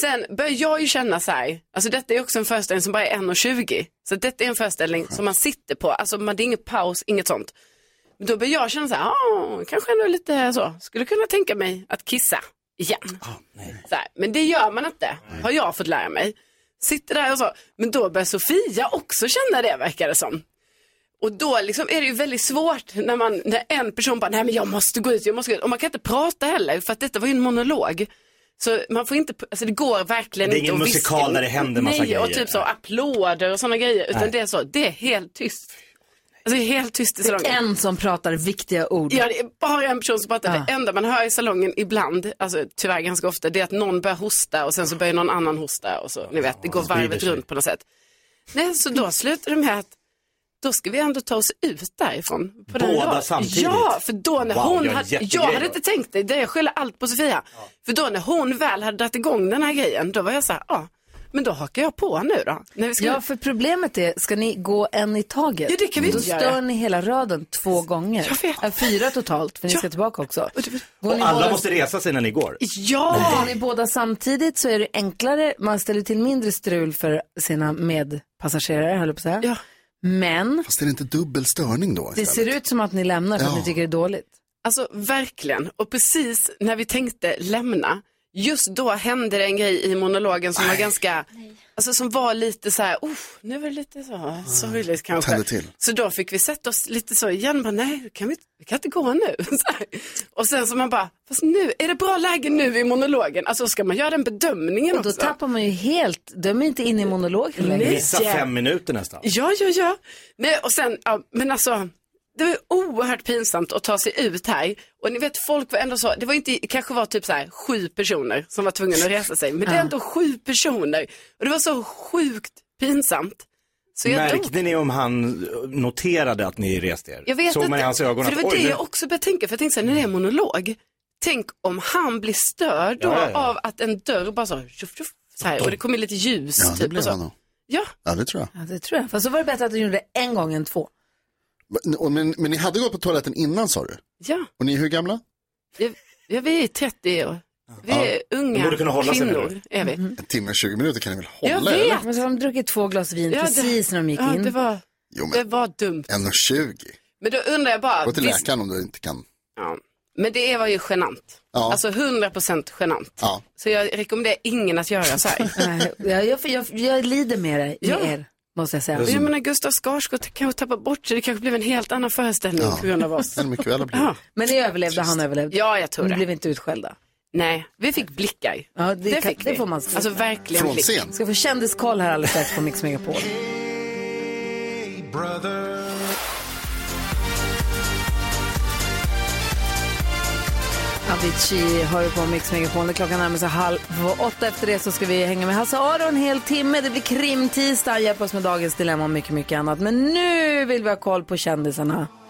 [SPEAKER 5] Sen börjar jag ju känna så här, alltså detta är också en föreställning som bara är 1,20. Så detta är en föreställning som man sitter på, alltså man, det är ingen paus, inget sånt. Men Då börjar jag känna så här, "Ah, kanske ändå lite så, skulle kunna tänka mig att kissa igen. så här, men det gör man inte, har jag fått lära mig. Sitter där och så, men då börjar Sofia också känna det verkar det som. Och då liksom är det ju väldigt svårt när, man, när en person bara, nej men jag måste gå ut, jag måste gå ut. Och man kan inte prata heller, för att detta var ju en monolog. Så man får inte, alltså det går verkligen
[SPEAKER 4] Det är
[SPEAKER 5] inte
[SPEAKER 4] ingen
[SPEAKER 5] att viska.
[SPEAKER 4] musikal där det händer massa
[SPEAKER 5] Nej, och
[SPEAKER 4] grejer.
[SPEAKER 5] typ så applåder och sådana grejer. Utan
[SPEAKER 4] Nej.
[SPEAKER 5] det är så, det är helt tyst. Alltså det är helt tyst i
[SPEAKER 1] Det är
[SPEAKER 5] salongen.
[SPEAKER 1] en som pratar viktiga ord.
[SPEAKER 5] Ja, det är bara en person som pratar. Det enda man hör i salongen ibland, alltså tyvärr ganska ofta, det är att någon börjar hosta och sen så börjar någon annan hosta och så, ni vet, det går
[SPEAKER 9] sprider
[SPEAKER 5] varvet
[SPEAKER 9] sig.
[SPEAKER 5] runt på något sätt. Nej, så då slutar det med att då ska vi ändå ta oss ut därifrån. På den
[SPEAKER 4] Båda
[SPEAKER 5] raden.
[SPEAKER 4] samtidigt?
[SPEAKER 5] Ja, för då när
[SPEAKER 4] Wow,
[SPEAKER 5] hon
[SPEAKER 4] jag är
[SPEAKER 5] hade, jag
[SPEAKER 4] jättegrej.
[SPEAKER 5] hade inte tänkt det, det jag skyller allt på Sofia. För då när hon väl hade dragit igång den här grejen, då var jag så här, ja, men då hakar jag på nu då. När vi ska
[SPEAKER 1] Ja, för problemet är, ska ni gå en i taget?
[SPEAKER 5] Ja, det kan vi
[SPEAKER 1] Då
[SPEAKER 5] inte göra.
[SPEAKER 1] stör ni hela raden två gånger. Äh, Fyra totalt, för ni ska tillbaka också. Går ni
[SPEAKER 4] Och alla
[SPEAKER 1] båda-
[SPEAKER 4] måste resa sig när ni går.
[SPEAKER 1] Ja! Går ni båda samtidigt så är det enklare. Man ställer till mindre strul för sina medpassagerare, höll jag på att säga. Men
[SPEAKER 3] Fast är det inte dubbel störning då?
[SPEAKER 1] det ser ut som att ni lämnar för att
[SPEAKER 3] Ja.
[SPEAKER 1] ni tycker det är dåligt.
[SPEAKER 5] Alltså verkligen. Och precis när vi tänkte lämna, just då hände det en grej i monologen som var ganska, alltså som var lite så här, oh, nu var det lite så sorgligt kanske.
[SPEAKER 3] Tände till.
[SPEAKER 5] Så då fick vi sätta oss lite så igen, bara, nej, kan vi, inte- vi kan inte gå nu. Så här. och sen så man bara, fast nu, är det bra läge nu i monologen? Alltså ska man göra den bedömningen
[SPEAKER 1] Och då
[SPEAKER 5] också?
[SPEAKER 1] tappar man ju helt, de är inte inne i monologen längre.
[SPEAKER 4] Missa fem minuter nästan.
[SPEAKER 5] Ja, ja, ja. Nej, och sen, ja, men alltså, det var ju oerhört pinsamt att ta sig ut här. Och ni vet, folk var ändå så, det var inte, kanske var typ så här sju personer som var tvungna att resa sig, men det är
[SPEAKER 4] Ja.
[SPEAKER 5] ändå sju personer. Och det var så sjukt pinsamt. Så jag dog.
[SPEAKER 4] Märkte ni om han eh, noterade att ni reste er?
[SPEAKER 5] Jag vet
[SPEAKER 4] Såg man
[SPEAKER 5] inte.
[SPEAKER 4] i hans ögon
[SPEAKER 5] för det
[SPEAKER 4] att
[SPEAKER 5] var
[SPEAKER 4] oj,
[SPEAKER 5] det
[SPEAKER 4] nu...
[SPEAKER 5] jag också började tänka, för jag tänkte så här, när det är en monolog, tänk om han blir störd då
[SPEAKER 4] Ja, ja, ja.
[SPEAKER 5] av att en dörr bara så, tjoff, tjoff, så här, och det kommer lite ljus.
[SPEAKER 3] Ja, det
[SPEAKER 5] typ, och
[SPEAKER 3] blev
[SPEAKER 5] så.
[SPEAKER 3] han nog.
[SPEAKER 5] Ja.
[SPEAKER 3] Ja, det tror jag.
[SPEAKER 1] Ja, det tror jag. Fast så var det bättre att du gjorde det en gång än två.
[SPEAKER 3] Men, och- men, men ni hade gått på toaletten innan sa du?
[SPEAKER 5] Ja.
[SPEAKER 3] Och ni är hur gamla?
[SPEAKER 5] Ja, ja, vi är 30 år. Vi är unga kvinnor. är vi.
[SPEAKER 3] En timme och 20 minuter kan ni väl hålla?
[SPEAKER 5] Jag
[SPEAKER 3] eller?
[SPEAKER 5] vet.
[SPEAKER 1] Mm-hmm. Men så har de druckit två glas vin
[SPEAKER 5] Ja, det-
[SPEAKER 1] precis när de gick
[SPEAKER 5] ja,
[SPEAKER 1] in.
[SPEAKER 5] Det var,
[SPEAKER 3] Jo,
[SPEAKER 5] det var dumt.
[SPEAKER 3] En och 20.
[SPEAKER 5] Men då undrar jag bara,
[SPEAKER 3] Gå till
[SPEAKER 5] visst,
[SPEAKER 3] läkaren om du inte kan.
[SPEAKER 5] Ja. men det var ju genant.
[SPEAKER 3] Ja.
[SPEAKER 5] Alltså 100% genant.
[SPEAKER 3] Ja.
[SPEAKER 5] Så jag rekommenderar ingen att göra så här.
[SPEAKER 1] Nej, jag, jag, jag, jag lider med, dig, med
[SPEAKER 5] Ja.
[SPEAKER 1] er, måste jag säga.
[SPEAKER 5] Och Jag menar Gustav Skarsgård kanske tappar bort sig, det kanske blev en helt annan föreställning
[SPEAKER 1] Ja.
[SPEAKER 5] på grund av oss.
[SPEAKER 3] Kan mycket väl ha blivit.
[SPEAKER 5] Ja.
[SPEAKER 1] Men ni överlevde, han överlevde.
[SPEAKER 5] Ja, jag tror
[SPEAKER 1] Ni
[SPEAKER 5] det.
[SPEAKER 1] blev inte utskällda.
[SPEAKER 5] Nej, vi fick blickar.
[SPEAKER 1] Ja, det,
[SPEAKER 5] Det
[SPEAKER 1] kan,
[SPEAKER 5] fick
[SPEAKER 1] det
[SPEAKER 5] vi.
[SPEAKER 1] får man säga.
[SPEAKER 5] Alltså, verkligen Från blick. scen.
[SPEAKER 1] Ska få kändiskoll här alldeles strax på Mix Megapol. Avicii hör du på Mix Megapol. Klockan närmar sig halv åtta. Efter det så ska vi hänga med Hasse Aro en hel timme. Det blir krimtisdag. Han hjälper oss med dagens dilemma och mycket, mycket annat. Men nu vill vi ha koll på kändisarna.
[SPEAKER 5] Ja,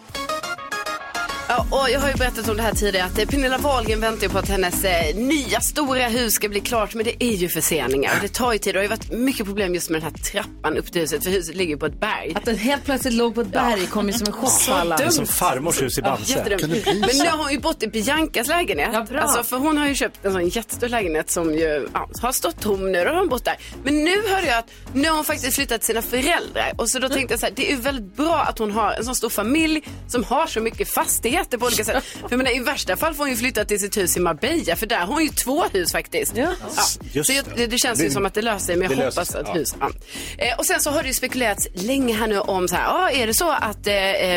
[SPEAKER 5] Ja, och jag har ju berättat om det här tidigare att eh, Pernilla Wahlgren väntar ju på att hennes eh, nya stora hus ska bli klart men det är ju förseningar och det tar ju tid och det har ju varit mycket problem just med den här trappan upp till huset för huset ligger ju på ett berg.
[SPEAKER 1] Att den helt plötsligt låg på ett berg kom ju som en chock
[SPEAKER 5] Så
[SPEAKER 1] för alla.
[SPEAKER 5] dumt. Det är
[SPEAKER 4] Som farmors hus i
[SPEAKER 5] Ja,
[SPEAKER 4] Bamse.
[SPEAKER 5] jättedumt. Men nu har hon ju bott i Biancas lägenhet.
[SPEAKER 1] bra.
[SPEAKER 5] alltså, för hon har ju köpt en sån jättestor lägenhet som ju ja, har stått tom nu. Då har hon bott där. Men nu hörde jag att nu har hon faktiskt flyttat till sina föräldrar. Och så då tänkte jag så här, det är ju väldigt bra att hon har en sån stor familj som har så mycket fastigheter på olika sätt. För jag menar, i värsta fall får hon ju flytta till sitt hus i Marbella. För där har hon ju två hus faktiskt. Ja.
[SPEAKER 16] Just
[SPEAKER 5] Så jag, det, det känns ju
[SPEAKER 16] Det-
[SPEAKER 5] som att det löser sig. Men jag
[SPEAKER 16] det löser
[SPEAKER 5] hoppas
[SPEAKER 16] sig,
[SPEAKER 5] att
[SPEAKER 16] ja.
[SPEAKER 5] hus Ja. Eh, och sen så har det ju spekulerats länge här nu om så här, ah, är det så att eh,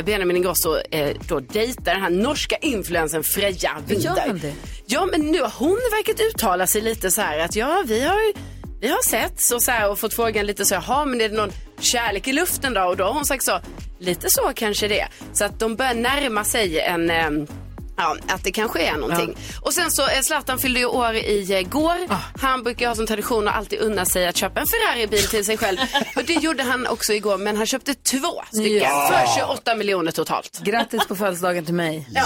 [SPEAKER 5] Benjamin Ingrosso eh, då dejtar den här norska influensen Freja Winter?
[SPEAKER 1] Gör han det?
[SPEAKER 5] Ja, men nu har hon verkat uttala sig lite så här att ja, vi har ju vi har sett och, så här, och fått frågan lite så, jaha, men är det någon kärlek i luften då? Och då har hon sagt så, lite så kanske det är. Så att de börjar närma sig en, eh, ja, att det kanske är någonting. Och sen så, eh, Zlatan fyllde ju år igår. Han brukar ju ha som tradition att alltid unna sig att köpa en Ferrari-bil till sig själv. och det gjorde han också igår, men han köpte två stycken
[SPEAKER 1] Ja.
[SPEAKER 5] för 28 miljoner totalt.
[SPEAKER 1] Grattis på födelsedagen till mig.
[SPEAKER 5] Ja.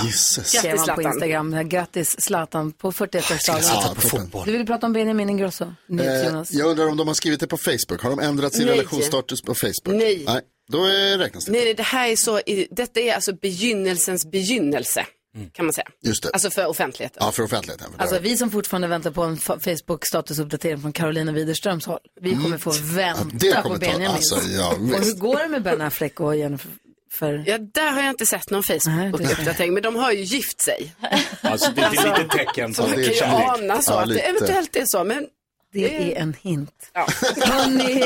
[SPEAKER 5] Grattis,
[SPEAKER 1] Jesus. Grattis på
[SPEAKER 5] Zlatan.
[SPEAKER 1] Instagram. Grattis Zlatan på 41-årsdagen.
[SPEAKER 3] Zlatan på fotboll.
[SPEAKER 1] Du ville prata om Benjamin Ingrosso, Nyhets-
[SPEAKER 3] Eh,
[SPEAKER 1] Jonas.
[SPEAKER 3] jag undrar om de har skrivit det på Facebook. Har de ändrat sin
[SPEAKER 5] Nej.
[SPEAKER 3] relationsstatus på Facebook?
[SPEAKER 5] Nej.
[SPEAKER 3] Nej. Då är, räknas det.
[SPEAKER 5] Nej, nej, det här är så, i- detta är alltså begynnelsens begynnelse, kan man säga.
[SPEAKER 3] Just Mm. det.
[SPEAKER 5] Alltså för offentligheten.
[SPEAKER 3] Ja, för offentligheten. För
[SPEAKER 1] Alltså vi som fortfarande väntar på en fa- Facebook-statusuppdatering från Carolina Widerströms håll. Vi kommer få vänta
[SPEAKER 3] Mm. det
[SPEAKER 1] på
[SPEAKER 3] kommer ta-
[SPEAKER 1] Benjamin.
[SPEAKER 3] alltså, ja,
[SPEAKER 1] och hur
[SPEAKER 3] visst.
[SPEAKER 1] går det med Ben Affleck och Jennifer? För...
[SPEAKER 5] Ja, där har jag inte sett någon Facebook-uppdatering, men de har ju gift sig.
[SPEAKER 4] Alltså det är ett litet tecken.
[SPEAKER 5] Så
[SPEAKER 4] på-
[SPEAKER 5] man kan ju ana så,
[SPEAKER 4] Ja,
[SPEAKER 5] att det
[SPEAKER 4] lite.
[SPEAKER 5] eventuellt är så, men
[SPEAKER 1] Det är en hint. Hörrni,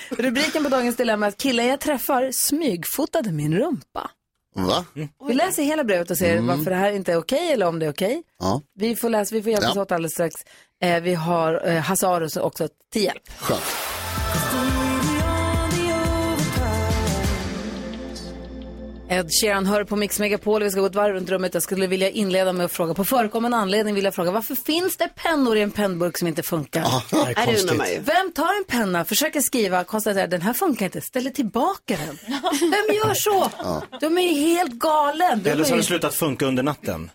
[SPEAKER 1] rubriken på dagens dilemma är att killen jag träffar smygfotade min rumpa.
[SPEAKER 3] Va?
[SPEAKER 1] Vi läser hela brevet och ser
[SPEAKER 3] Mm.
[SPEAKER 1] varför det här inte är okej eller om det är okej.
[SPEAKER 3] Ja,
[SPEAKER 1] Vi får läsa, vi får hjälpas
[SPEAKER 3] Ja.
[SPEAKER 1] åt alldeles strax. Eh, vi har eh, Hasse Aros också till hjälp.
[SPEAKER 3] skönt.
[SPEAKER 1] Ed Sheeran hör på Mix Megapol vi ska gå ett varv runt rummet. Jag skulle vilja inleda med att fråga, på förekommande anledning vill jag fråga, varför finns det pennor i en pennburk som inte funkar?
[SPEAKER 5] Ah, det är Är det konstigt. undrar man ju.
[SPEAKER 1] Vem tar en penna, försöker skriva, konstaterar den här funkar inte, ställer tillbaka den? Vem gör så?
[SPEAKER 4] Ja.
[SPEAKER 1] De är ju helt galen. De
[SPEAKER 4] Eller så har
[SPEAKER 1] är
[SPEAKER 4] det
[SPEAKER 1] ju...
[SPEAKER 4] slutat funka under natten. Han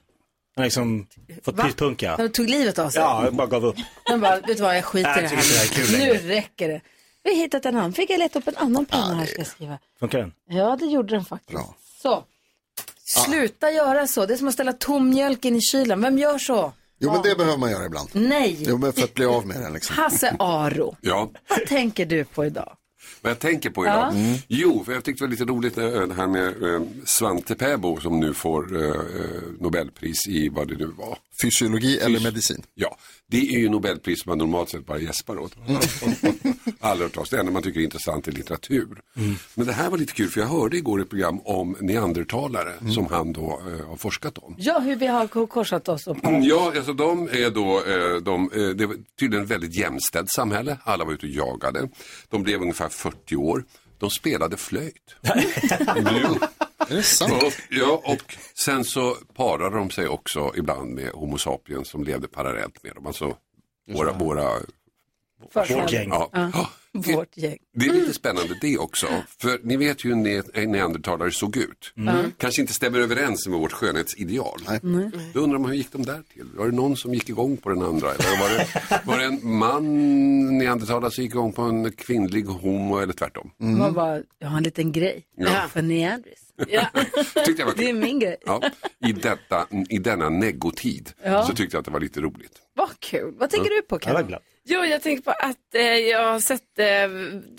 [SPEAKER 4] har liksom fått
[SPEAKER 1] Va?
[SPEAKER 4] pyspunka.
[SPEAKER 1] De tog livet av sig.
[SPEAKER 4] Ja, jag bara gav upp.
[SPEAKER 1] De bara, vet du vad, jag skiter i
[SPEAKER 4] Nej,
[SPEAKER 1] det
[SPEAKER 4] jag tycker
[SPEAKER 1] här.
[SPEAKER 4] inte det här är kul
[SPEAKER 1] nu räcker det. Vi har hittat en annan. Fick jag leta upp en annan penna här ska jag skriva.
[SPEAKER 4] Funkar den?
[SPEAKER 1] Ja, det gjorde den faktiskt. Så. Sluta göra så. Det är som att ställa tom mjölk in i kylen. Vem gör så?
[SPEAKER 3] Jo, men det behöver man göra ibland.
[SPEAKER 1] Nej.
[SPEAKER 3] Jo, men för att bli av med den liksom.
[SPEAKER 1] Hasse Aro,
[SPEAKER 10] Ja,
[SPEAKER 1] vad tänker du på idag?
[SPEAKER 10] vad jag tänker på idag.
[SPEAKER 1] Ja. Mm.
[SPEAKER 10] Jo, för jag tyckte det var lite roligt när- det här med eh, Svante Pääbo som nu får eh, eh, Nobelpris i vad det nu var.
[SPEAKER 3] Fysiologi eller medicin?
[SPEAKER 10] Ja, det är ju Nobelpris som man normalt sett bara gäspar åt. Aldrig hört talas om. Det enda man tycker är intressant är litteratur.
[SPEAKER 3] Mm.
[SPEAKER 10] Men det här var lite kul för jag hörde igår ett program om neandertalare
[SPEAKER 3] Mm.
[SPEAKER 10] som han då eh, har forskat om.
[SPEAKER 1] Ja, hur vi har korsat oss. Och...
[SPEAKER 10] Ja, alltså de är då, eh, de, eh, det var tydligen ett väldigt jämställt samhälle. Alla var ute och jagade. De blev ungefär 40 år. De spelade flöjt.
[SPEAKER 3] Är det sant?
[SPEAKER 10] Och, ja, och sen så parade de sig också ibland med Homo sapiens som levde parallellt med dem. Alltså våra, våra
[SPEAKER 1] Förfäder.
[SPEAKER 10] Ja.
[SPEAKER 1] Ja. Vårt gäng.
[SPEAKER 10] Det är lite spännande det också. För ni vet ju hur ne- en neandertalare såg ut.
[SPEAKER 1] Mm.
[SPEAKER 10] Kanske inte stämmer överens med vårt skönhetsideal.
[SPEAKER 1] Nej.
[SPEAKER 10] Då undrar man hur gick de där till? Var det någon som gick igång på den andra? Eller var, det, var det en man neandertalare som gick igång på en kvinnlig homo eller tvärtom?
[SPEAKER 1] Man bara, jag har en liten grej.
[SPEAKER 10] Mm. Ja.
[SPEAKER 1] För neandris.
[SPEAKER 10] Tyckte jag var
[SPEAKER 1] Det är
[SPEAKER 10] kul.
[SPEAKER 1] min grej.
[SPEAKER 10] Ja, i, detta, I denna neggotid
[SPEAKER 5] Ja.
[SPEAKER 10] så tyckte jag att det var lite roligt.
[SPEAKER 1] Vad kul. Vad tänker
[SPEAKER 10] Ja.
[SPEAKER 1] du på, Karin?
[SPEAKER 5] Jo, jag tänkte på att eh, jag har sett eh,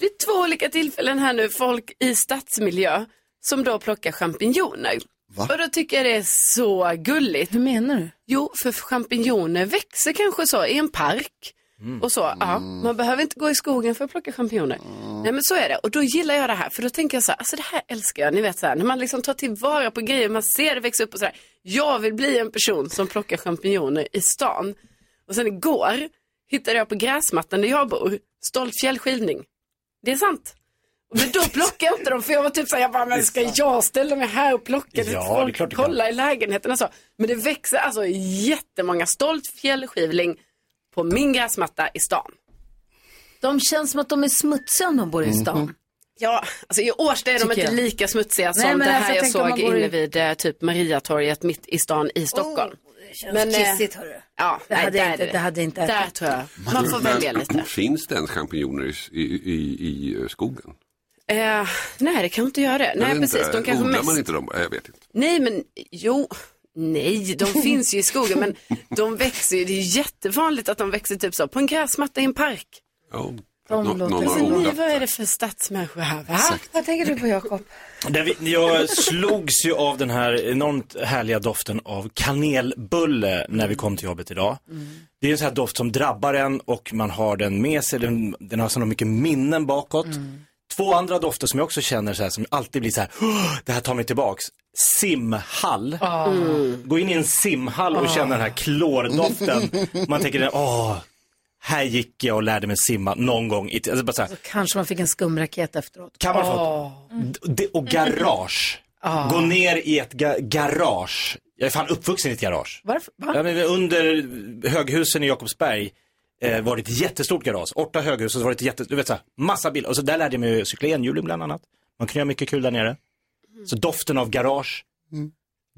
[SPEAKER 5] vid två olika tillfällen här nu folk i stadsmiljö som då plockar champinjoner. Och då tycker jag det är så gulligt.
[SPEAKER 1] Hur menar du?
[SPEAKER 5] Jo, för champinjoner växer kanske så i en park.
[SPEAKER 3] Mm.
[SPEAKER 5] Och så, ja, man behöver inte gå i skogen för att plocka champinjoner. Nej men så är det. Och då gillar jag det här, för då tänker jag så här, alltså det här älskar jag. Ni vet så här, när man liksom tar tillvara på grejer, man ser det växa upp och så här. Jag vill bli en person som plockar champinjoner i stan. Och sen igår hittade jag på gräsmattan där jag bor, stolt fjällskidning. Det är sant. Men då plockade jag inte dem för jag var typ såhär, jag bara, men ska jag ställa mig här och plocka?
[SPEAKER 4] Ja,
[SPEAKER 5] folk
[SPEAKER 4] det är klart du kan.
[SPEAKER 5] kolla i lägenheten och så. Men det växer alltså jättemånga stolt fjällskivling på min gräsmatta i stan.
[SPEAKER 1] De känns som att de är smutsiga om de bor i stan.
[SPEAKER 5] Ja, alltså i Årsta är de
[SPEAKER 1] Tycker
[SPEAKER 5] inte
[SPEAKER 1] jag.
[SPEAKER 5] lika smutsiga
[SPEAKER 1] Nej,
[SPEAKER 5] som
[SPEAKER 1] men
[SPEAKER 5] det här
[SPEAKER 1] alltså,
[SPEAKER 5] jag
[SPEAKER 1] tänk om
[SPEAKER 5] såg
[SPEAKER 1] man går i-
[SPEAKER 5] inne vid eh, typ Mariatorget mitt i stan i Stockholm.
[SPEAKER 1] Oh, känns
[SPEAKER 5] eh,
[SPEAKER 1] kissigt, hörru.
[SPEAKER 5] Ja,
[SPEAKER 1] Det
[SPEAKER 5] nej,
[SPEAKER 1] hade
[SPEAKER 5] där
[SPEAKER 1] jag inte-
[SPEAKER 5] är
[SPEAKER 1] det hade jag inte
[SPEAKER 5] Där
[SPEAKER 1] ätit.
[SPEAKER 5] tror jag. Man får
[SPEAKER 10] Men
[SPEAKER 5] välja lite.
[SPEAKER 10] Finns det ens champinjoner i, s- i, i, i eh, skogen?
[SPEAKER 5] Eh, nej, det kan inte göra det.
[SPEAKER 10] Jag
[SPEAKER 5] Nej,
[SPEAKER 10] vet
[SPEAKER 5] precis.
[SPEAKER 10] inte.
[SPEAKER 5] De kanske
[SPEAKER 10] Odlar
[SPEAKER 5] mest...
[SPEAKER 10] man inte dem? Eh, Jag vet inte.
[SPEAKER 5] Nej, men jo. Nej, de finns ju i skogen, men de växer ju. Det är ju jättevanligt att de växer typ så på en gräsmatta i en park.
[SPEAKER 10] Ja.
[SPEAKER 1] De
[SPEAKER 10] Nå- någon
[SPEAKER 5] alltså,
[SPEAKER 10] har
[SPEAKER 5] ni,
[SPEAKER 10] odlat.
[SPEAKER 5] vad är det för stadsmänniskor här? Va?
[SPEAKER 1] Vad tänker du på Jakob?
[SPEAKER 4] Där vi, jag slogs ju av den här enormt härliga doften av kanelbulle när vi kom till jobbet idag. Det är en sån här doft som drabbar en och man har den med sig. Den, den har så mycket minnen bakåt.
[SPEAKER 12] Mm.
[SPEAKER 4] Två andra dofter som jag också känner så här som alltid blir så här, "Åh, det här tar mig tillbaks. Simhall.
[SPEAKER 12] Mm.
[SPEAKER 4] Gå in i en simhall och
[SPEAKER 12] Ah.
[SPEAKER 4] känna den här klordoften. Man tänker, åh, här gick jag och lärde mig simma någon gång. i t-" Alltså bara så här,
[SPEAKER 1] Kanske man fick en skumraket efteråt.
[SPEAKER 4] kan man få.
[SPEAKER 1] Åh.
[SPEAKER 4] D- det- Och garage.
[SPEAKER 1] Ah.
[SPEAKER 4] Gå ner i ett ga garage. Jag är fan uppvuxen i ett garage.
[SPEAKER 1] Varför? Va?
[SPEAKER 4] Ja, men under höghusen i Jakobsberg eh, var det ett jättestort garage. Åtta höghus och så var det ett jätte, du vet så här, massa bilar. Och så där lärde jag mig att cykla enhjuling bland annat. Man kunde göra mycket kul där nere. Så doften av garage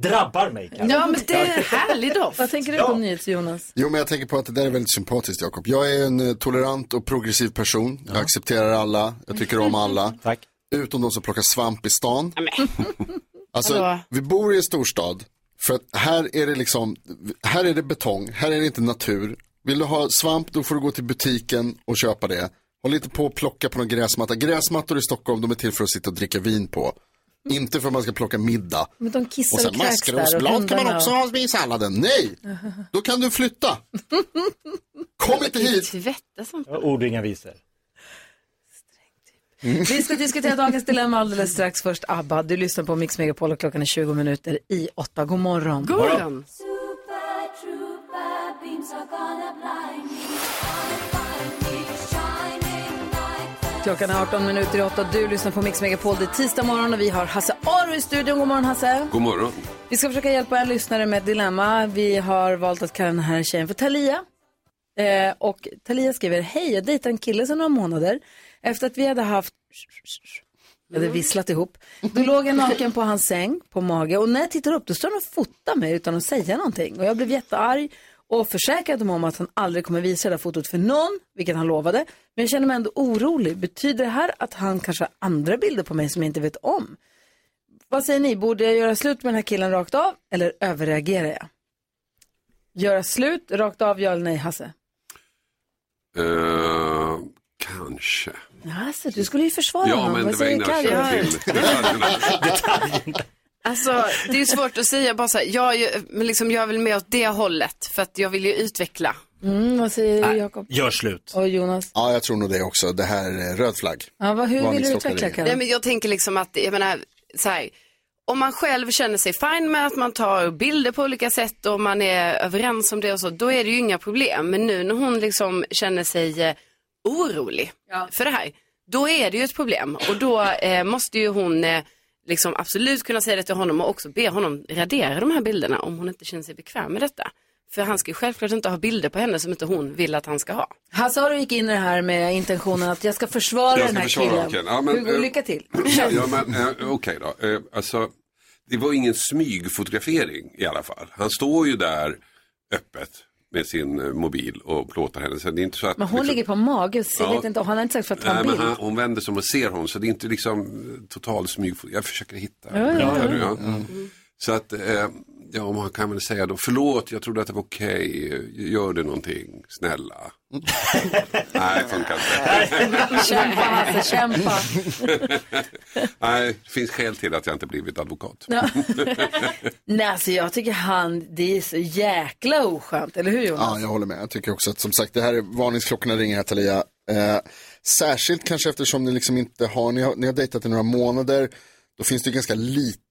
[SPEAKER 4] drabbar mig. kanske.
[SPEAKER 1] Ja, men det är en
[SPEAKER 5] härlig doft.
[SPEAKER 1] Vad tänker du
[SPEAKER 4] Ja.
[SPEAKER 1] på nyhets, Jonas?
[SPEAKER 3] Jo, men jag tänker på att det där är väldigt sympatiskt, Jakob. Jag är en eh, tolerant och progressiv person. Jag accepterar alla, jag tycker om alla.
[SPEAKER 4] Tack.
[SPEAKER 3] Utom de som plockar svamp i stan. Alltså,
[SPEAKER 12] Hallå?
[SPEAKER 3] vi bor i en storstad. För att här är det liksom, här är det betong, här är det inte natur. Vill du ha svamp, då får du gå till butiken och köpa det. Håll inte på och plocka på någon gräsmatta. Gräsmattor i Stockholm, de är till för att sitta och dricka vin på. Inte för att man ska plocka middag.
[SPEAKER 1] Men de kissar
[SPEAKER 3] Och sen
[SPEAKER 1] och kräks där och
[SPEAKER 3] maskrosblad kan man
[SPEAKER 1] hundarna
[SPEAKER 3] också
[SPEAKER 1] och-
[SPEAKER 3] ha i salladen. Nej, då kan du flytta. Kom inte hit.
[SPEAKER 4] Ord och inga visor.
[SPEAKER 1] Vi ska diskutera dagens dilemma alldeles strax. Först ABBA. Du lyssnar på Mix Megapol och klockan är 20 minuter i åtta. God morgon.
[SPEAKER 12] God morgon.
[SPEAKER 1] Klockan är 18 minuter i åtta. Du lyssnar på Mix Megapol. Det är tisdag morgon och vi har Hasse Aro i studion. God morgon Hasse.
[SPEAKER 10] God morgon.
[SPEAKER 1] Vi ska försöka hjälpa en lyssnare med ett dilemma. Vi har valt att kalla den här tjejen för Talia. Eh, och Talia skriver, hej, jag dejtar en kille sedan några månader. Efter att vi hade haft, vi hade visslat ihop, då låg jag naken på hans säng, på mage. Och när jag tittar upp, då står han och fotar mig utan att säga någonting. Och jag blev jättearg och försäkrade mig om att han aldrig kommer visa det där fotot för någon, vilket han lovade. Men jag känner mig ändå orolig. Betyder det här att han kanske har andra bilder på mig som jag inte vet om? Vad säger ni, borde jag göra slut med den här killen rakt av eller överreagerar jag? Göra slut rakt av, ja eller nej Hasse?
[SPEAKER 10] Eh, kanske.
[SPEAKER 1] Hasse, du skulle ju försvara
[SPEAKER 10] Ja,
[SPEAKER 1] honom.
[SPEAKER 10] men
[SPEAKER 1] Vad
[SPEAKER 10] det var
[SPEAKER 1] säger
[SPEAKER 10] innan jag
[SPEAKER 1] Kalle?
[SPEAKER 10] kände till detaljerna.
[SPEAKER 5] Alltså, det är ju svårt att säga bara så här, jag, är ju- men liksom, jag vill med åt det hållet för att jag vill ju utveckla.
[SPEAKER 1] Mm, vad säger Jakob?
[SPEAKER 4] Gör slut.
[SPEAKER 1] Och Jonas?
[SPEAKER 3] Ja, jag tror nog det också. Det här är röd flagg.
[SPEAKER 1] Ja, vad, hur vill du
[SPEAKER 3] Varningsklocka
[SPEAKER 1] utveckla
[SPEAKER 3] ringer.
[SPEAKER 1] Kalle?
[SPEAKER 5] Nej, men jag tänker liksom att, jag menar, så här, om man själv känner sig fine med att man tar bilder på olika sätt och man är överens om det och så, då är det ju inga problem. Men nu när hon liksom känner sig eh, orolig för det här, då är det ju ett problem. Och då eh, måste ju hon eh, liksom absolut kunna säga det till honom och också be honom radera de här bilderna om hon inte känner sig bekväm med detta. För han ska ju självklart inte ha bilder på henne som inte hon vill att han ska ha.
[SPEAKER 1] Hasse Aro gick in i det här med intentionen att jag ska försvara
[SPEAKER 10] Jag ska
[SPEAKER 1] den här
[SPEAKER 10] försvara
[SPEAKER 1] killen.
[SPEAKER 10] killen. Ja, men,
[SPEAKER 1] Hur-
[SPEAKER 10] eh,
[SPEAKER 1] lycka till.
[SPEAKER 10] ja, men, eh, Okej då. Eh, alltså, det var ingen smygfotografering i alla fall. Han står ju där öppet med sin eh, mobil och plåtar henne. Så det är inte så att,
[SPEAKER 1] Men hon
[SPEAKER 10] liksom-
[SPEAKER 1] ligger på mage och ser-
[SPEAKER 10] Ja.
[SPEAKER 1] vet inte, och han har inte sagt för att ta
[SPEAKER 10] Nej,
[SPEAKER 1] en
[SPEAKER 10] men
[SPEAKER 1] bild.
[SPEAKER 10] han, hon vänder sig om och ser honom så det är inte liksom eh, total smygfotografering. Jag försöker hitta.
[SPEAKER 1] Ja, ja, ja.
[SPEAKER 10] Hittar du, Så att, eh, ja, man kan väl säga då, förlåt, jag trodde att det var okej, gör du någonting, snälla. Nej, funkar inte.
[SPEAKER 1] Kämpa Hasse, kämpa.
[SPEAKER 10] Nej, det finns skäl till att jag inte blivit advokat.
[SPEAKER 1] Ja. Nej, alltså jag tycker han, det är så jäkla oskönt, eller hur Jonas?
[SPEAKER 3] Ja, jag håller med. Jag tycker också att som sagt, det här är varningsklockorna ringer här Thalia. Eh, särskilt kanske eftersom ni liksom inte har, ni har, ni har dejtat i några månader, då finns det ju ganska lite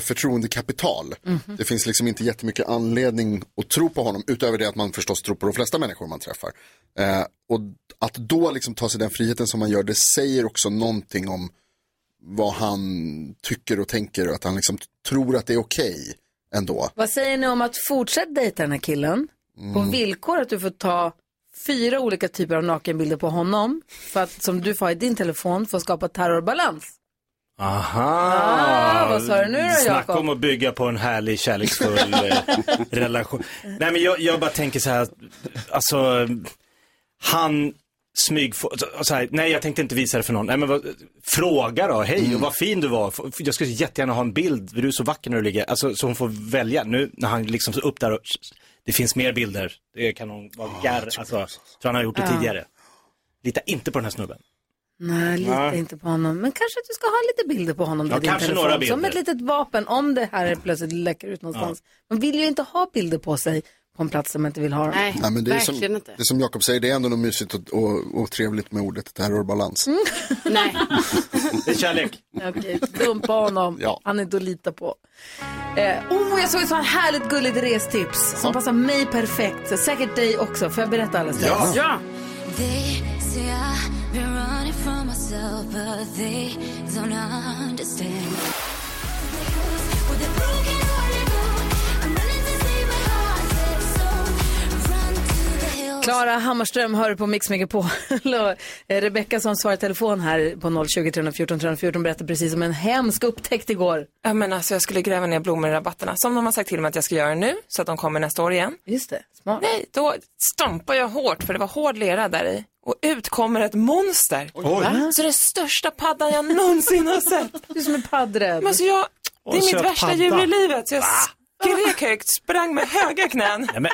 [SPEAKER 3] förtroendekapital. Det finns liksom inte jättemycket anledning att tro på honom, utöver det att man förstås tror på de flesta människor man träffar. Eh, och att då liksom ta sig den friheten som man gör, det säger också någonting om vad han tycker och tänker och att han liksom t- tror att det är okej ändå.
[SPEAKER 1] Vad säger ni om att fortsätta dejta den här killen på
[SPEAKER 3] Mm.
[SPEAKER 1] villkor att du får ta fyra olika typer av nakenbilder på honom för att, som du får ha i din telefon för att skapa terrorbalans.
[SPEAKER 4] Aha!
[SPEAKER 1] Ah, vad sa du nu då,
[SPEAKER 4] Snacka
[SPEAKER 1] Jakob?
[SPEAKER 4] om att bygga på en härlig kärleksfull eh, relation. Nej men jag, jag bara tänker så här, alltså han smyg, så- så här, nej jag tänkte inte visa det för någon. Nej men vad, fråga då, hej och vad fin du var. F- Jag skulle jättegärna ha en bild, du är så vacker när du ligger. Alltså så hon får välja. Nu när han liksom så upp där och, det finns mer bilder. Det kan hon vara garr, alltså. Tror han har gjort det
[SPEAKER 1] Ja.
[SPEAKER 4] tidigare. Lita inte på den här snubben.
[SPEAKER 1] Nej, lita
[SPEAKER 4] Nej.
[SPEAKER 1] inte på honom. Men kanske att du ska ha lite bilder på honom
[SPEAKER 4] Ja,
[SPEAKER 1] i din
[SPEAKER 4] kanske
[SPEAKER 1] telefon.
[SPEAKER 4] några bilder.
[SPEAKER 1] Som ett litet vapen om det här plötsligt läcker ut någonstans. Man vill ju inte ha bilder på sig på en plats som man inte vill ha dem.
[SPEAKER 3] Nej, men det är som, det är som Jakob säger, det är ändå något mysigt och, och, och trevligt med ordet terrorbalans.
[SPEAKER 1] Nej.
[SPEAKER 4] Det är kärlek.
[SPEAKER 1] Okej, dumpa honom.
[SPEAKER 3] Ja.
[SPEAKER 1] Han är inte att lita på. Eh, oh, jag såg ett sånt härligt gulligt restips som passar mig perfekt. Så Säkert dig också. Får jag berätta alldeles strax?
[SPEAKER 17] Ja. They say I've been running from myself, but they don't understand. With a broken heart and all, I'm running to save my heart, so run to the hills.
[SPEAKER 1] Klara Hammarström hör på Mix Megapol och eh, Rebecka som svarar i telefon här på 020 314 314 berättar precis om en hemsk upptäckt igår.
[SPEAKER 11] Ja, men alltså, jag skulle gräva ner blommor i rabatterna, som de har sagt till mig att jag ska göra nu, så att de kommer nästa år igen.
[SPEAKER 1] Just det, smart.
[SPEAKER 11] Nej, då stampar jag hårt, för det var hård lera där i. Och ut kommer ett monster.
[SPEAKER 4] Oj.
[SPEAKER 11] Va? Så det är största paddan jag någonsin har sett.
[SPEAKER 1] Du är som en paddräv.
[SPEAKER 11] Men alltså, jag, det
[SPEAKER 4] Och
[SPEAKER 11] är
[SPEAKER 4] söt
[SPEAKER 11] mitt värsta
[SPEAKER 4] padda.
[SPEAKER 11] djur i livet. Så jag skrek högt, sprang med höga knän
[SPEAKER 4] Nej, men,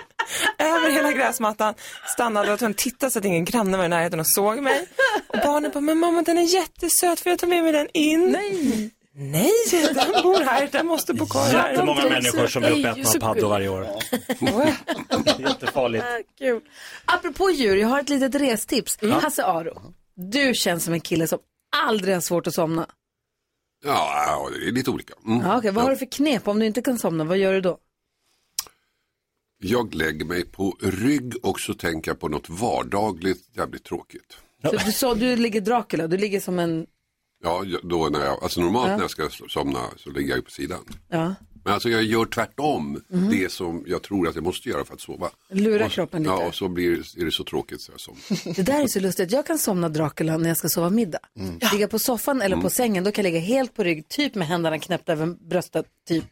[SPEAKER 11] över hela gräsmattan, stannade och tittade så att ingen granne var i närheten och såg mig. Och barnen bara, men mamma den är jättesöt, får jag ta med mig den in?
[SPEAKER 1] Nej.
[SPEAKER 11] Nej, den bor här, den måste bo kvar här.
[SPEAKER 4] jättemånga människor som är uppätna av paddor varje år. Jättefarligt.
[SPEAKER 1] Ah, Kul. Apropå djur, jag har ett litet restips.
[SPEAKER 10] Ja.
[SPEAKER 1] Hasse Aro, du känns som en kille som aldrig har svårt att somna.
[SPEAKER 10] Ja, det är lite olika. Mm.
[SPEAKER 1] Ja, okej. Vad har du för knep om du inte kan somna? Vad gör du då?
[SPEAKER 10] Jag lägger mig på rygg och så tänker jag på något vardagligt jävligt tråkigt.
[SPEAKER 1] Så du sa du ligger Dracula, du ligger som en...
[SPEAKER 10] Ja, jag- då när jag, alltså normalt
[SPEAKER 1] Ja.
[SPEAKER 10] när jag ska so- somna så ligger jag ju på sidan.
[SPEAKER 1] Ja.
[SPEAKER 10] Men alltså jag gör tvärtom
[SPEAKER 1] Mhm.
[SPEAKER 10] det som jag tror att jag måste göra för att sova.
[SPEAKER 1] Lura
[SPEAKER 10] Och-
[SPEAKER 1] kroppen lite.
[SPEAKER 10] Ja, och så blir, är det så tråkigt så jag somnar.
[SPEAKER 1] Det där är så lustigt. Jag kan somna Dracula när jag ska sova middag.
[SPEAKER 10] Mm.
[SPEAKER 1] Ligga på soffan eller på
[SPEAKER 10] Mm.
[SPEAKER 1] sängen, då kan jag ligga helt på rygg, typ med händerna knäppta över bröstet, typ.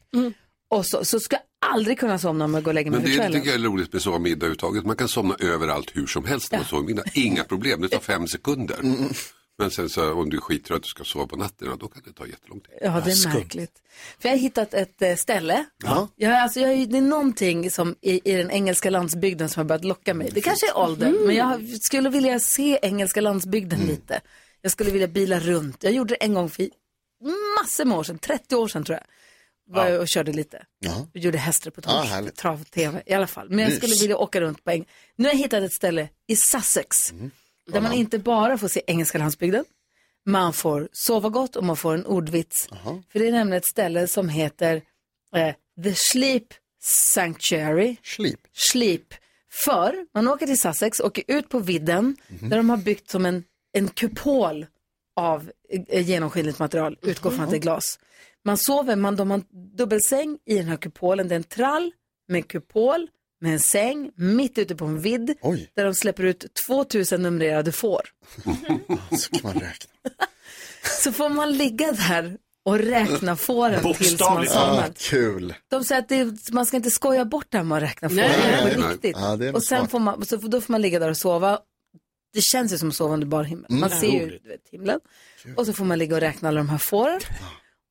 [SPEAKER 1] Och så, så ska jag aldrig kunna somna om jag går och lägger mig
[SPEAKER 10] Mm. Men
[SPEAKER 1] för
[SPEAKER 10] det
[SPEAKER 1] kvällen.
[SPEAKER 10] tycker jag är roligt med sova middag överhuvudtaget. Man kan somna överallt hur som helst när man sover middag. Inga problem, det tar fem sekunder.
[SPEAKER 1] Mm.
[SPEAKER 10] Men sen så om du är skittrött och ska sova på natten, ja, då kan det ta jättelång tid.
[SPEAKER 1] Ja, det är märkligt. För jag har hittat ett eh, ställe. Jag, har- alltså, jag, har ju- det är någonting som i, i den engelska landsbygden som har börjat locka mig. Det kanske är åldern,
[SPEAKER 9] Mm.
[SPEAKER 1] men jag har- skulle vilja se engelska landsbygden lite. Jag skulle vilja bila runt. Jag gjorde det en gång för massor med år sedan, 30 år sedan tror jag. Var jag och körde lite.
[SPEAKER 3] Ja.
[SPEAKER 1] Och gjorde hästreportage,
[SPEAKER 3] Ah, härligt.
[SPEAKER 1] trav-tv i alla fall. Men jag
[SPEAKER 3] Mys.
[SPEAKER 1] skulle vilja åka runt på eng- Nu har jag hittat ett ställe i Sussex.
[SPEAKER 3] Mm.
[SPEAKER 1] Där man inte bara får se engelska landsbygden. Man får sova gott och man får en ordvits. För det är nämligen ett ställe som heter eh, The Sleep Sanctuary.
[SPEAKER 3] Sleep.
[SPEAKER 1] Sleep. För man åker till Sussex, åker ut på vidden
[SPEAKER 3] Mhm.
[SPEAKER 1] där de har byggt som en, en kupol av eh, genomskinligt material, utgår från att det är glas. Man sover, man, de har en dubbelsäng i den här kupolen. Det är en trall med en kupol, med en säng, mitt ute på en vidd där de släpper ut 2000 numrerade får.
[SPEAKER 3] Så kan man räkna.
[SPEAKER 1] Så får man ligga där och räkna fåren tills man
[SPEAKER 3] ah,
[SPEAKER 1] somnar.
[SPEAKER 3] Kul.
[SPEAKER 1] De säger att det, är- man ska inte skoja bort det här med att räkna fåren.
[SPEAKER 3] Nej,
[SPEAKER 1] Det är
[SPEAKER 3] nej,
[SPEAKER 1] på
[SPEAKER 3] nej.
[SPEAKER 1] riktigt.
[SPEAKER 3] Ja, det är väl
[SPEAKER 1] och sen
[SPEAKER 3] smart.
[SPEAKER 1] får man, så, då får man ligga där och sova. Det känns ju som att sova under bar himmel.
[SPEAKER 3] Mm.
[SPEAKER 1] Man ser ju
[SPEAKER 3] Roligt.
[SPEAKER 1] du vet, himlen. Och så får man ligga och räkna alla de här fåren.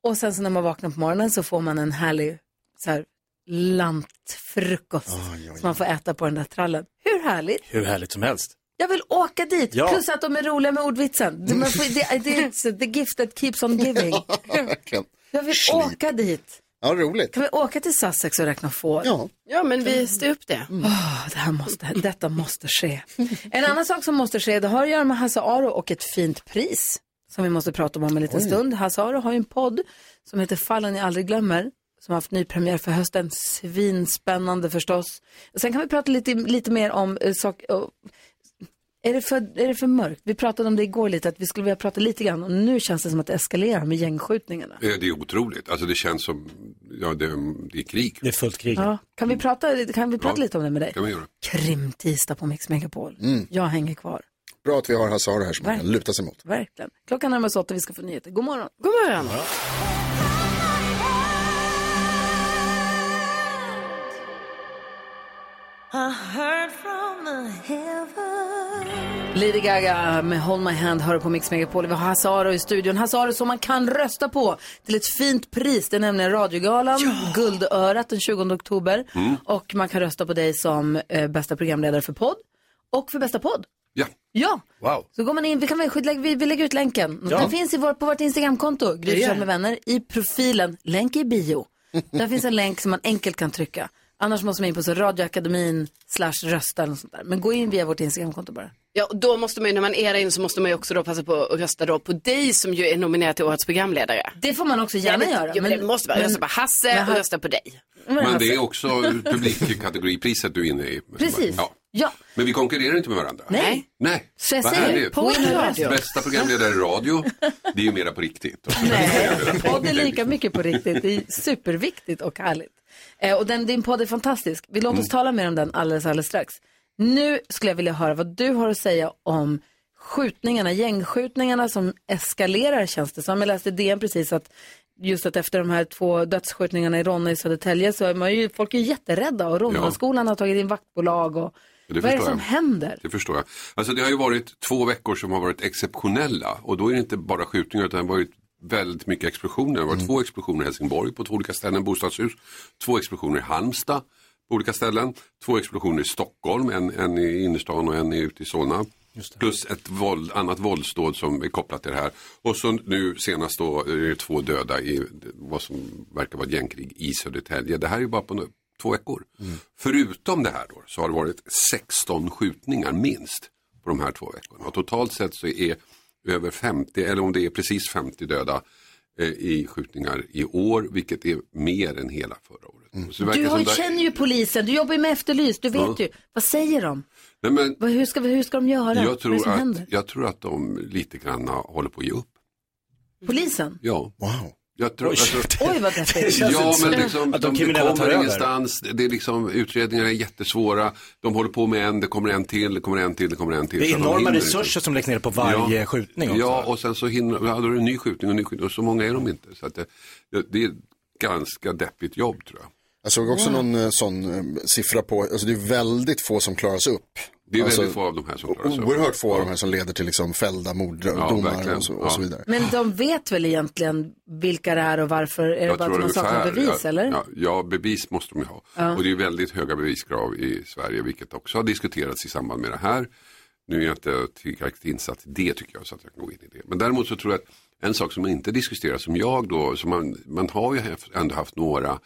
[SPEAKER 1] Och sen så när man vaknar på morgonen så får man en härlig så här, lantfrukost som man får äta på den där trallen. Hur härligt?
[SPEAKER 4] Hur härligt som helst.
[SPEAKER 1] Jag vill åka dit,
[SPEAKER 4] Ja.
[SPEAKER 1] plus att de är roliga med ordvitsen. Det, man får, det, det är the gift that keeps on giving.
[SPEAKER 3] Mm. Verkligen.
[SPEAKER 1] Jag vill åka dit.
[SPEAKER 3] Ja, roligt.
[SPEAKER 1] Kan vi åka till Sussex och räkna får?
[SPEAKER 3] Ja.
[SPEAKER 5] Ja, men
[SPEAKER 1] Mm.
[SPEAKER 5] vi styr upp det.
[SPEAKER 1] Åh, det här måste, detta måste ske. En annan sak som måste ske, det har att göra med Hasse Aro och ett fint pris som vi måste prata om om en liten
[SPEAKER 9] Oj.
[SPEAKER 1] stund. Hasse Aro har ju en podd som heter Fallen jag aldrig glömmer som har haft nypremiär för hösten. Svinspännande förstås. Sen kan vi prata lite, lite mer om eh, sak, eh, Är det, för, är det för mörkt? Vi pratade om det igår lite, att vi skulle vilja prata lite grann och nu känns det som att det eskalerar med gängskjutningarna.
[SPEAKER 10] Eh, Det är otroligt. Alltså det känns som, ja det, det är krig.
[SPEAKER 4] Det är fullt krig.
[SPEAKER 1] Ja. Kan vi prata, lite- kan vi prata lite om det med dig?
[SPEAKER 10] kan man göra.
[SPEAKER 1] Krimtisdag på Mix Megapol.
[SPEAKER 3] Mm.
[SPEAKER 1] Jag hänger kvar,
[SPEAKER 3] Bra att vi har Hasse Aro här som man kan luta sig mot.
[SPEAKER 1] verkligen. Klockan närmar sig åtta, vi ska få nyheter. God morgon. God morgon. Lady Gaga med Hold My Hand hör på Mix Megapol. Vi har Hasse Aro i studion. Hasse Aro som man kan rösta på till ett fint pris. Det är nämligen Radiogalan, Guldörat den 20 oktober.
[SPEAKER 12] Mm.
[SPEAKER 1] Och man kan rösta på dig som eh, bästa programledare för podd och för bästa podd.
[SPEAKER 10] Ja.
[SPEAKER 1] Ja,
[SPEAKER 10] Wow.
[SPEAKER 1] så går man in, vi, kan väl, skydda- vi, vi lägger ut länken.
[SPEAKER 12] Ja.
[SPEAKER 1] Den finns i vår, på vårt Instagramkonto, Gry
[SPEAKER 12] Ja.
[SPEAKER 1] Forssell med vänner, i profilen, länk i bio. Där finns en länk som man enkelt kan trycka. Annars måste man in på så radioakademin slash rösta eller något sånt där. Men gå in via vårt Instagramkonto bara.
[SPEAKER 5] Ja, och då måste man ju, när man är där inne så måste man ju också då passa på att rösta då på dig som ju är nominerad till årets programledare.
[SPEAKER 1] Det får man också gärna
[SPEAKER 5] ja,
[SPEAKER 1] göra.
[SPEAKER 5] Men, jo, men det måste man rösta på Hasse
[SPEAKER 1] men-
[SPEAKER 5] och rösta på dig.
[SPEAKER 10] Men det är också publikkategoripriset du är inne i.
[SPEAKER 1] alltså- Precis.
[SPEAKER 10] Ja.
[SPEAKER 1] Ja,
[SPEAKER 10] Men vi konkurrerar inte med varandra.
[SPEAKER 1] Nej.
[SPEAKER 10] Nej,
[SPEAKER 1] Så jag
[SPEAKER 10] vad
[SPEAKER 1] säger,
[SPEAKER 10] härligt.
[SPEAKER 1] på en radio.
[SPEAKER 10] Bästa programledare i radio, det är ju mera på riktigt.
[SPEAKER 1] podd är lika mycket på riktigt. Det är superviktigt och härligt. Eh, och den, din podd är fantastisk. Vi låter oss
[SPEAKER 12] Mm.
[SPEAKER 1] tala mer om den alldeles, alldeles strax. Nu skulle jag vilja höra vad du har att säga om skjutningarna, gängskjutningarna som eskalerar känns det som. Jag läste i DN precis att just att efter de här två dödsskjutningarna i Ronna i Södertälje så är man ju, folk är ju jätterädda och Ronnaskolan har tagit in vaktbolag och
[SPEAKER 10] Det
[SPEAKER 1] vad är det
[SPEAKER 10] förstår
[SPEAKER 1] som
[SPEAKER 10] jag.
[SPEAKER 1] händer?
[SPEAKER 10] Det förstår jag. Alltså det har ju varit två veckor som har varit exceptionella och då är det inte bara skjutningar utan det har varit väldigt mycket explosioner. Det har varit två explosioner i Helsingborg på två olika ställen, bostadshus, två explosioner i Halmstad på olika ställen, två explosioner i Stockholm, en, en i innerstan och en i- ute i Solna. Plus ett våld, annat våldsdåd som är kopplat till det här. Och så nu senast då är det två döda i vad som verkar vara ett gängkrig i Södertälje. Det här är ju bara på nå- två veckor. Förutom det här då, så har det varit 16 skjutningar minst på de här två veckorna. Och totalt sett så är över 50, eller om det är precis 50 döda eh, i skjutningar i år, vilket är mer än hela förra året. Så det verkar
[SPEAKER 1] Du har,
[SPEAKER 10] som
[SPEAKER 1] ju-
[SPEAKER 10] det-
[SPEAKER 1] känner ju polisen, du jobbar ju med Efterlyst, du vet
[SPEAKER 10] Ja.
[SPEAKER 1] ju. Vad säger de?
[SPEAKER 10] Nej, men
[SPEAKER 1] Vad, hur, ska, vi- hur ska de göra? Vad är
[SPEAKER 10] jag,
[SPEAKER 1] det som
[SPEAKER 10] tror att,
[SPEAKER 1] händer?
[SPEAKER 10] jag tror att de lite grann håller på att ge upp.
[SPEAKER 1] Polisen?
[SPEAKER 10] Ja. Wow. Jag tror,
[SPEAKER 1] Oj.
[SPEAKER 10] alltså,
[SPEAKER 1] Oj, vad deppigt. Det känns
[SPEAKER 10] Ja,
[SPEAKER 1] inte
[SPEAKER 10] men
[SPEAKER 1] så.
[SPEAKER 10] liksom,
[SPEAKER 4] Att
[SPEAKER 10] de,
[SPEAKER 4] de
[SPEAKER 10] de
[SPEAKER 4] kriminella tar
[SPEAKER 10] kommer
[SPEAKER 4] över.
[SPEAKER 10] ingenstans, det är liksom, utredningarna är jättesvåra, de håller på med en, det kommer en till, det kommer en till, det kommer en till.
[SPEAKER 4] Det är
[SPEAKER 10] Så de
[SPEAKER 4] enorma
[SPEAKER 10] hinner inte.
[SPEAKER 4] resurser som läggs ner på varje skjutning också.
[SPEAKER 10] Ja, och sen så hinner, ja, då är det en ny skjutning och en ny skjutning och så många är de inte. Så att det, det- det är ett ganska deppigt jobb tror jag.
[SPEAKER 3] Jag såg också någon eh, sån eh, siffra på, alltså det är väldigt få som klaras upp.
[SPEAKER 10] Det är
[SPEAKER 3] alltså,
[SPEAKER 10] väldigt få av de här som klarar sig.
[SPEAKER 3] Oerhört få av de här som leder till liksom fällda morddomar
[SPEAKER 10] verkligen.
[SPEAKER 3] och, så,
[SPEAKER 10] Ja.
[SPEAKER 3] och så vidare.
[SPEAKER 1] Men de vet väl egentligen vilka det är och varför? Är det bara att man saknar bevis
[SPEAKER 10] ja,
[SPEAKER 1] eller?
[SPEAKER 10] Ja, ja, bevis måste de ju ha.
[SPEAKER 1] Ja.
[SPEAKER 10] Och det är ju väldigt höga beviskrav i Sverige, vilket också har diskuterats i samband med det här. Nu är jag inte tillräckligt insatt i det tycker jag, så att jag kan gå in i det. Men däremot så tror jag att en sak som inte diskuteras, som jag då, som man, man har ju haft- ändå haft några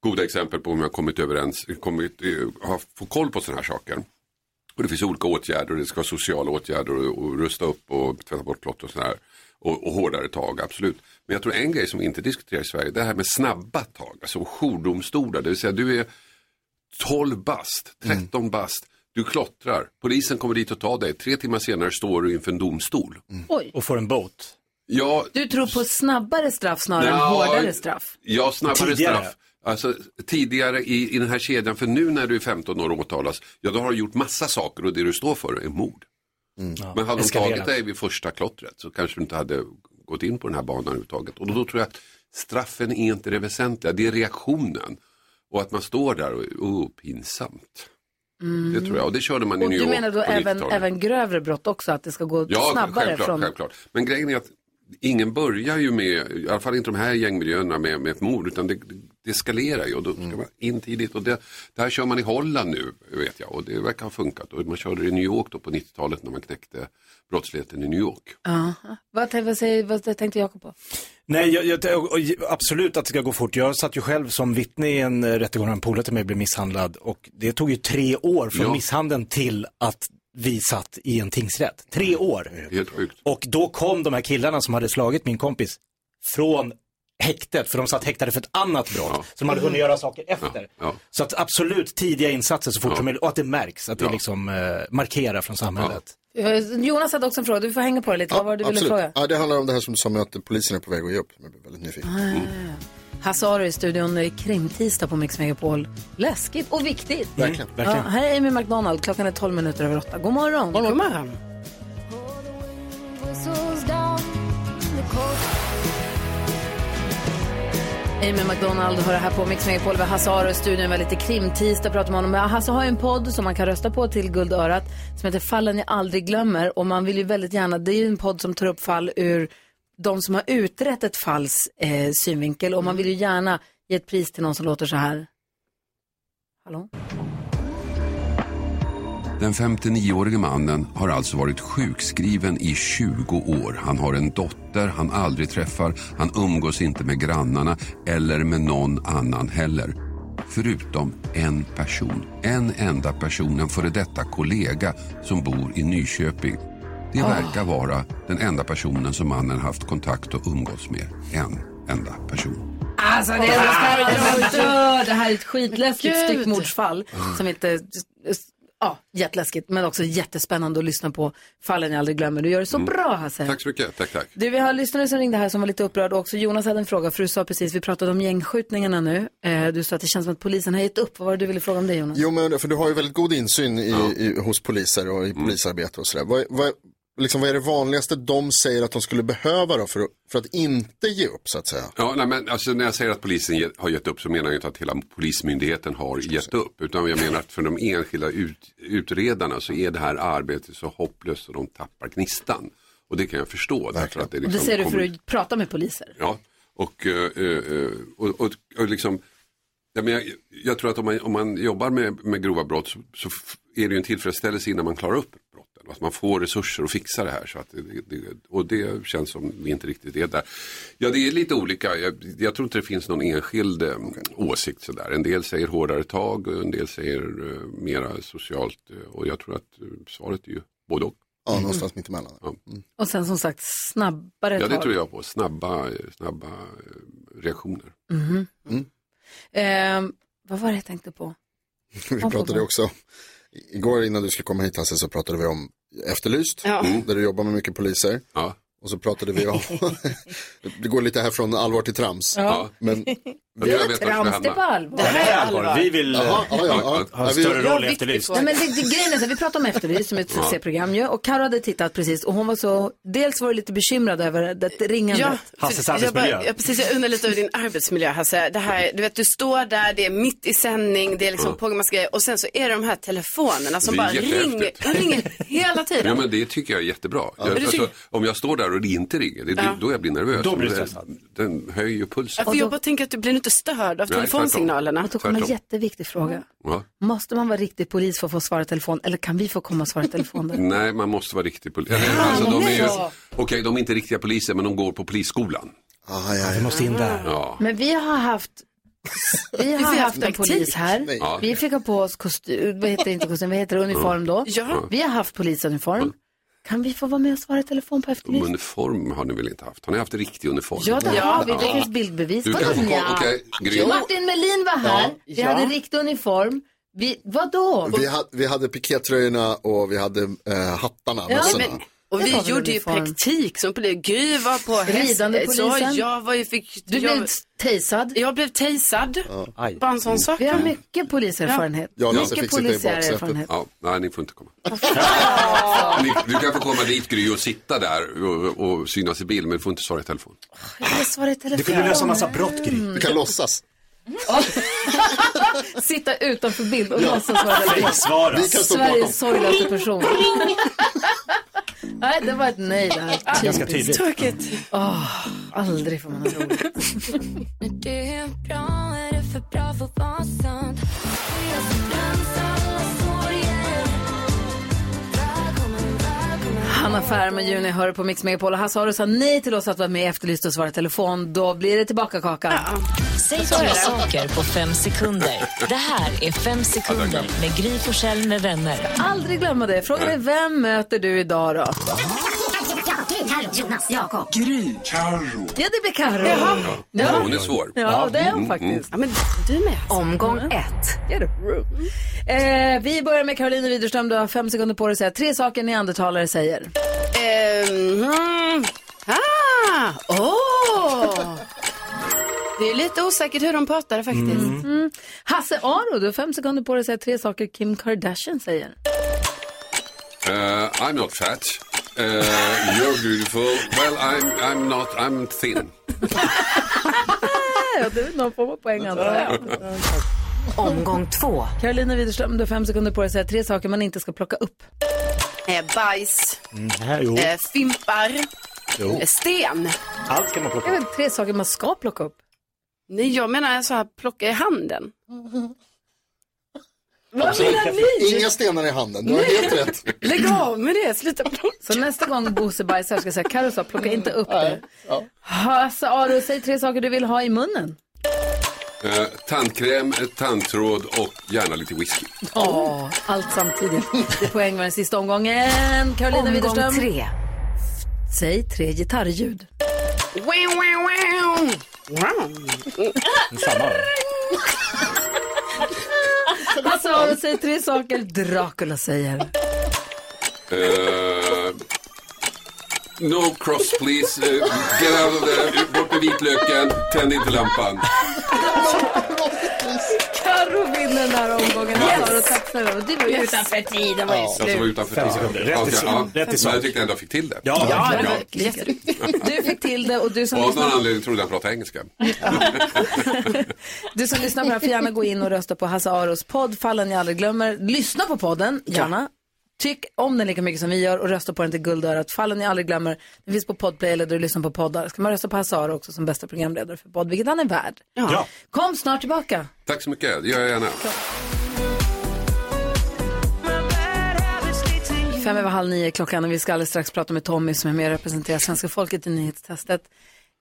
[SPEAKER 10] goda exempel på hur man har kommit överens, kommit, eh, har fått koll på sådana här saker. Och det finns olika åtgärder, det ska vara sociala åtgärder och, och rusta upp och tvätta bort klotter och sådär. Och, och hårdare tag, absolut. Men jag tror en grej som vi inte diskuterar i Sverige, det är det här med snabba tag, alltså jourdomstolar. Det vill säga du är 12 bast, 13 bast, du klottrar, polisen kommer dit och tar dig, tre timmar senare står du inför en domstol.
[SPEAKER 1] Oj.
[SPEAKER 10] Och får en bot. Ja,
[SPEAKER 1] Du tror på snabbare straff snarare än
[SPEAKER 10] Ja,
[SPEAKER 1] hårdare straff?
[SPEAKER 10] Ja, snabbare
[SPEAKER 1] Tidigare.
[SPEAKER 10] straff. Alltså, tidigare i, i den här kedjan, för nu när du är 15 år och åtalas, ja då har du gjort massa saker och det du står för är mord. Men hade de
[SPEAKER 4] eskalerat.
[SPEAKER 10] tagit dig vid första klottret så kanske du inte hade gått in på den här banan överhuvudtaget. Och då, då tror jag att straffen är inte det väsentliga, det är reaktionen. Och att man står där och, oh, pinsamt.
[SPEAKER 1] Mm.
[SPEAKER 10] Det tror jag, och det körde man i
[SPEAKER 1] Och
[SPEAKER 10] New
[SPEAKER 1] du
[SPEAKER 10] York
[SPEAKER 1] menar då
[SPEAKER 10] på
[SPEAKER 1] även,
[SPEAKER 10] 90-talet.
[SPEAKER 1] även grövre brott också, att det ska gå
[SPEAKER 10] Ja,
[SPEAKER 1] snabbare
[SPEAKER 10] självklart,
[SPEAKER 1] från...
[SPEAKER 10] självklart. Men grejen är att ingen börjar ju med, i alla fall inte de här gängmiljöerna med, med ett mord, utan det, det eskalerar ju och då ska man in tidigt. Och det, det här kör man i Holland nu, vet jag, och det verkar ha funkat. Och man körde det i New York då på 90-talet när man knäckte brottsligheten i New York.
[SPEAKER 1] Aha. Vad, tän- vad, säger, vad tänkte Jakob på?
[SPEAKER 4] Nej, jag, jag, och- och absolut att det ska gå fort. Jag satt ju själv som vittne i en eh, rättegång där en polare till mig blev misshandlad och det tog ju tre år från
[SPEAKER 10] Ja.
[SPEAKER 4] misshandeln till att vi satt i en tingsrätt. Tre år.
[SPEAKER 10] Helt Mm. sjukt.
[SPEAKER 4] Och då kom de här killarna som hade slagit min kompis från häktet, för de satt häktade för ett annat brott. Så de hade hunnit göra saker efter. Så att absolut tidiga insatser så fort som möjligt och att det märks, att det liksom eh, markerar från samhället.
[SPEAKER 1] Jonas hade också en fråga, du får hänga på det lite. Vad var det du ville
[SPEAKER 3] Absolut.
[SPEAKER 1] fråga?
[SPEAKER 3] Ja, det handlar om det här som du sa med att polisen är på väg att ge upp. Jag blir väldigt nyfiken.
[SPEAKER 1] Ah.
[SPEAKER 10] Mm.
[SPEAKER 1] Hasse Aro i studion i krimtisdag på Mix Megapol. Läskigt och viktigt.
[SPEAKER 3] Verkligen.
[SPEAKER 1] Ja, här är Amy McDonald, klockan är 12 minuter över 8. God morgon. God morgon.
[SPEAKER 17] Whistles down the coast.
[SPEAKER 1] Amy McDonald hör här på Mix Megapol. Vi har Hasse Aro i studion, vi har lite krimtisdag pratar med honom. Men Hasse har ju en podd som man kan rösta på till Guldörat som heter Fallen jag aldrig glömmer. Och man vill ju väldigt gärna, det är ju en podd som tar upp fall ur de som har utrett ett falls eh, synvinkel. Och man vill ju gärna ge ett pris till någon som låter så här. Hallå?
[SPEAKER 10] Den 59-årige mannen har alltså varit sjukskriven i 20 år. Han har en dotter han aldrig träffar, han umgås inte med grannarna eller med någon annan heller. Förutom en person, en enda person, en före detta kollega som bor i Nyköping. Det
[SPEAKER 18] Ah.
[SPEAKER 10] verkar vara den enda personen som mannen haft kontakt och umgås med. En enda person.
[SPEAKER 1] Alltså det, är- det här är, det här är ett skitläskigt
[SPEAKER 9] Men gud.
[SPEAKER 1] styckmordsfall som inte, ja, jätteläskigt men också jättespännande att lyssna på. Fallen jag aldrig glömmer. Du gör det
[SPEAKER 10] Mm.
[SPEAKER 1] så bra Hasse.
[SPEAKER 10] Tack så mycket. Tack, tack.
[SPEAKER 1] Du, vi har lyssnare som ringde här som var lite upprörd också. Jonas hade en fråga, för du sa precis, vi pratade om gängskjutningarna nu. Eh, du sa att det känns som att polisen har gett upp. Vad var det du ville fråga om det Jonas?
[SPEAKER 3] Jo, men för du har ju väldigt god insyn i, i, hos poliser och i polisarbete och sådär. Vad, vad, liksom, vad är det vanligaste de säger att de skulle behöva då för, att- för att inte ge upp så att säga?
[SPEAKER 10] Ja, nej, men alltså, när jag säger att polisen ge, har gett upp så menar jag inte att hela polismyndigheten har gett upp. Utan jag menar att för de enskilda ut, utredarna så är det här arbetet så hopplöst så de tappar gnistan. Och det kan jag förstå. Därför att det,
[SPEAKER 1] Och
[SPEAKER 10] liksom
[SPEAKER 1] det säger du
[SPEAKER 10] kommer-
[SPEAKER 1] för att prata med poliser.
[SPEAKER 10] Ja, och, eh, eh, och, och, och liksom, ja, men jag, jag tror att om man, om man jobbar med, med grova brott så, så f- är det ju en tillfredsställelse innan man klarar upp brotten. Att man får resurser att fixa det här. Så att det, det, och det känns som vi inte riktigt är där. Ja, det är lite olika. Jag, jag tror inte det finns någon enskild eh, åsikt sådär. En del säger hårdare tag och en del säger eh, mera socialt. eh, Och jag tror att eh, svaret är ju både och.
[SPEAKER 3] Ja, någonstans mitt emellan. Mm.
[SPEAKER 10] Ja.
[SPEAKER 1] Och sen som sagt, snabbare
[SPEAKER 10] Ja, det
[SPEAKER 1] tag.
[SPEAKER 10] tror jag på. Snabba, eh, snabba eh, reaktioner. Mm.
[SPEAKER 1] Mhm. Ehm, vad var det jag tänkte på?
[SPEAKER 3] Vi pratade också, igår innan du skulle komma hit Hasse så pratade vi om Efterlyst, Mm, där du jobbar med mycket poliser. Och så pratade vi om, det går lite här från allvar till trams.
[SPEAKER 1] Ja.
[SPEAKER 3] Men
[SPEAKER 1] Det är trams, det är på allvar. Det här är allvar.
[SPEAKER 4] Vi vill eh,
[SPEAKER 3] Jaha, ja, ja, ja.
[SPEAKER 4] ha
[SPEAKER 3] Ja,
[SPEAKER 4] en
[SPEAKER 3] vi-
[SPEAKER 4] större
[SPEAKER 3] Ja,
[SPEAKER 4] roll i
[SPEAKER 3] viktigt
[SPEAKER 4] Efterlyst.
[SPEAKER 1] Nej, men det, det, grejen är så här, vi pratade om Efterlyst som är ett
[SPEAKER 4] Ja.
[SPEAKER 1] succéprogram ju, och Karo hade tittat precis och hon var så, dels var du lite bekymrad över det ringandet.
[SPEAKER 5] jag, bara, jag, precis, jag undrar lite över din arbetsmiljö Hasse. Det här, du vet, du står där, det är mitt i sändning, det är liksom
[SPEAKER 10] Ja.
[SPEAKER 5] pågående grejer och sen så är det de här telefonerna som
[SPEAKER 10] Mm. Det är
[SPEAKER 5] bara ringer,
[SPEAKER 10] jättehäftigt.
[SPEAKER 5] de ringer hela
[SPEAKER 10] Ja,
[SPEAKER 5] tiden.
[SPEAKER 10] men det tycker jag är jättebra.
[SPEAKER 5] Men
[SPEAKER 10] Jag,
[SPEAKER 5] du
[SPEAKER 10] alltså,
[SPEAKER 5] tycker-
[SPEAKER 10] Om jag står där och det inte ringer, det,
[SPEAKER 5] Ja.
[SPEAKER 10] då jag blir nervös.
[SPEAKER 4] Då blir du
[SPEAKER 10] Den- Den höjer ju
[SPEAKER 5] Ja,
[SPEAKER 10] pulsen.
[SPEAKER 5] för jag bara tänker att du blir inte störd av
[SPEAKER 10] Nej,
[SPEAKER 5] telefonsignalerna.
[SPEAKER 10] tvärtom.
[SPEAKER 1] Då kommer en jätteviktig fråga.
[SPEAKER 10] Ja.
[SPEAKER 1] Måste man vara riktig polis för att få svara i telefon eller kan vi få komma och svara i telefon? då?
[SPEAKER 10] Nej, man måste vara riktig polis. Alltså, de är ju... Okej, de är inte riktiga poliser, men de går på polisskolan.
[SPEAKER 3] Ah, ja,
[SPEAKER 4] Vi måste in där.
[SPEAKER 10] Ja.
[SPEAKER 1] Men vi har haft, vi
[SPEAKER 5] Vi
[SPEAKER 1] har
[SPEAKER 5] får
[SPEAKER 1] haft en
[SPEAKER 5] taktik.
[SPEAKER 1] polis här.
[SPEAKER 5] Nej.
[SPEAKER 10] Ja.
[SPEAKER 1] Vi fick ha på oss kostym, vad heter det, inte kostym, vad heter det, uniform då.
[SPEAKER 10] Ja.
[SPEAKER 1] Vi har haft polisuniform. Kan vi få vara med och svara i telefon på Efterlyst?
[SPEAKER 10] Uniform har ni väl inte haft? Har ni haft riktig uniform?
[SPEAKER 1] Ja, det har vi. Det finns bildbevis.
[SPEAKER 10] Du kan få kolla. Okej, Gry.
[SPEAKER 1] Jo, Martin Melin var här.
[SPEAKER 3] Ja.
[SPEAKER 1] Vi
[SPEAKER 3] Ja.
[SPEAKER 1] hade riktig uniform. Vi, vadå?
[SPEAKER 3] Vi, ha, vi hade pikétröjorna och vi hade eh, hattarna,
[SPEAKER 5] Ja,
[SPEAKER 3] mössorna.
[SPEAKER 5] men- Och vi gjorde ju praktik som polis. Gry var på häst.
[SPEAKER 1] Ridande polisen.
[SPEAKER 5] Så jag var ju fick...
[SPEAKER 1] Du
[SPEAKER 5] jag,
[SPEAKER 1] blev tejsad.
[SPEAKER 5] Jag blev tejsad.
[SPEAKER 3] Aj.
[SPEAKER 5] Bara en sån sak.
[SPEAKER 1] Vi har mycket poliserfarenhet.
[SPEAKER 10] Ja, Lasse
[SPEAKER 1] mycket
[SPEAKER 10] fick sitta i
[SPEAKER 1] polisiär
[SPEAKER 10] baksätet.
[SPEAKER 1] erfarenhet.
[SPEAKER 10] Ja, nej, ni får inte komma. ni, du kan få komma dit Gry och sitta där och, och synas i bild, men du får inte svara i telefon.
[SPEAKER 1] Jag vill svara i telefon.
[SPEAKER 4] brott
[SPEAKER 1] Gry. Du
[SPEAKER 3] kan låtsas.
[SPEAKER 1] Sitta utanför bild och
[SPEAKER 3] Ja.
[SPEAKER 1] låtsas vara
[SPEAKER 3] Fejksvara. Vi kan stå bakom.
[SPEAKER 1] Sveriges sorgligaste person. nej, det var ett nej där.
[SPEAKER 4] Ganska
[SPEAKER 1] Typiskt. Åh, aldrig får man ha roligt.
[SPEAKER 17] Det är bra, är det för bra för att vara sant? Vi har så glömt alla sorger. Välkommen, välkommen.
[SPEAKER 1] Hanna Färm och Juni hör på Mix Megapol. Och Hasse Aro sa nej till oss att vara med i Efterlyst och svara i telefon. Då blir det tillbaka kaka.
[SPEAKER 8] Säg tre saker på fem sekunder. Det här är Fem sekunder med Gry Forssell med vänner.
[SPEAKER 1] Aldrig glömma det. Frågan är vem möter du idag då?
[SPEAKER 17] Ja, det Carro, Jonas, Jakob.
[SPEAKER 10] Gry. Carro.
[SPEAKER 1] Ja, det blir Carro.
[SPEAKER 17] Jaha.
[SPEAKER 10] Ja, hon är svår.
[SPEAKER 1] Ja, det är hon
[SPEAKER 10] Mm,
[SPEAKER 1] faktiskt.
[SPEAKER 10] mm.
[SPEAKER 1] du med. Mm. Omgång ett. Get a room. Eh, vi börjar med Caroline Widerström. Du har fem sekunder på dig att säga tre saker neandertalare säger. Mm-hmm.
[SPEAKER 5] Ehm, ah, åh. Det är lite osäkert hur de pratar faktiskt.
[SPEAKER 1] Mm. Hasse Aro, du har fem sekunder på dig att säga tre saker Kim Kardashian säger.
[SPEAKER 10] Eh, I'm not fat. Eh, you're beautiful. Well, I'm, I'm not, I'm thin.
[SPEAKER 1] Ja, det är någon form av poäng antar jag. Omgång två. Carolina Widerström, du har fem sekunder på dig att säga tre saker man inte ska plocka upp.
[SPEAKER 5] Eh, bajs,
[SPEAKER 4] Mm, här, jo.
[SPEAKER 5] eh, fimpar,
[SPEAKER 4] Jo.
[SPEAKER 5] eh, sten.
[SPEAKER 4] Allt ska man plocka
[SPEAKER 1] Jag vet, tre saker man ska plocka upp.
[SPEAKER 5] Nej, jag menar så här, plocka i handen.
[SPEAKER 3] Absolut.
[SPEAKER 5] menar ni?
[SPEAKER 3] Alltså, Inga stenar i handen, du har
[SPEAKER 1] Nej.
[SPEAKER 3] helt rätt.
[SPEAKER 5] Lägg av med det, sluta plocka.
[SPEAKER 1] Så nästa gång Bosse bajsar ska jag säga, Carro sa plocka inte upp det. Hasse Aro, säg tre saker du vill ha i munnen.
[SPEAKER 10] Eh, tandkräm, eh, tandtråd och gärna lite whisky.
[SPEAKER 1] Åh, allt samtidigt. Poäng var den sista omgången. Carolina
[SPEAKER 8] Omgång
[SPEAKER 1] Widerström.
[SPEAKER 8] tre.
[SPEAKER 1] Säg tre gitarrljud.
[SPEAKER 5] Wow, wow, wow.
[SPEAKER 4] Samma.
[SPEAKER 1] Hasse Aro, säg tre saker Dracula säger.
[SPEAKER 10] Eh, no cross please. Eh, get out of there. Bort med vitlöken. Tänd inte lampan.
[SPEAKER 1] Carro vinner den här omgången. Hasse Aro, tack för det. Du var ju utanför tiden, var ju
[SPEAKER 10] Jag som Alltså, var utanför
[SPEAKER 4] Fem
[SPEAKER 10] tiden.
[SPEAKER 4] sekunder. Rätt i
[SPEAKER 10] Okej,
[SPEAKER 4] sak.
[SPEAKER 10] ja.
[SPEAKER 4] Rätt i sak.
[SPEAKER 10] Men jag tyckte ändå jag fick till det.
[SPEAKER 4] Ja,
[SPEAKER 1] Ja, det var Du fick till det och du som
[SPEAKER 10] Och av någon
[SPEAKER 1] lyssnar,
[SPEAKER 10] anledning trodde jag han pratade engelska.
[SPEAKER 1] du som lyssnar på det här får gärna gå in och rösta på Hasse Aros podd, fallen jag aldrig glömmer. Lyssna på podden, gärna. Tyck om den lika mycket som vi gör och rösta på den till guldörat. Fallen jag aldrig glömmer. Den finns på Podplay eller där du lyssnar på poddar. Ska man rösta på Hasse Aro också som bästa programledare för podd, vilket han är värd.
[SPEAKER 10] Ja.
[SPEAKER 1] Kom snart tillbaka.
[SPEAKER 10] Tack så mycket. Det gör jag gärna.
[SPEAKER 1] Fem över halv nio är klockan och vi ska alldeles strax prata med Tommy som är med och representerar svenska folket i nyhetstestet.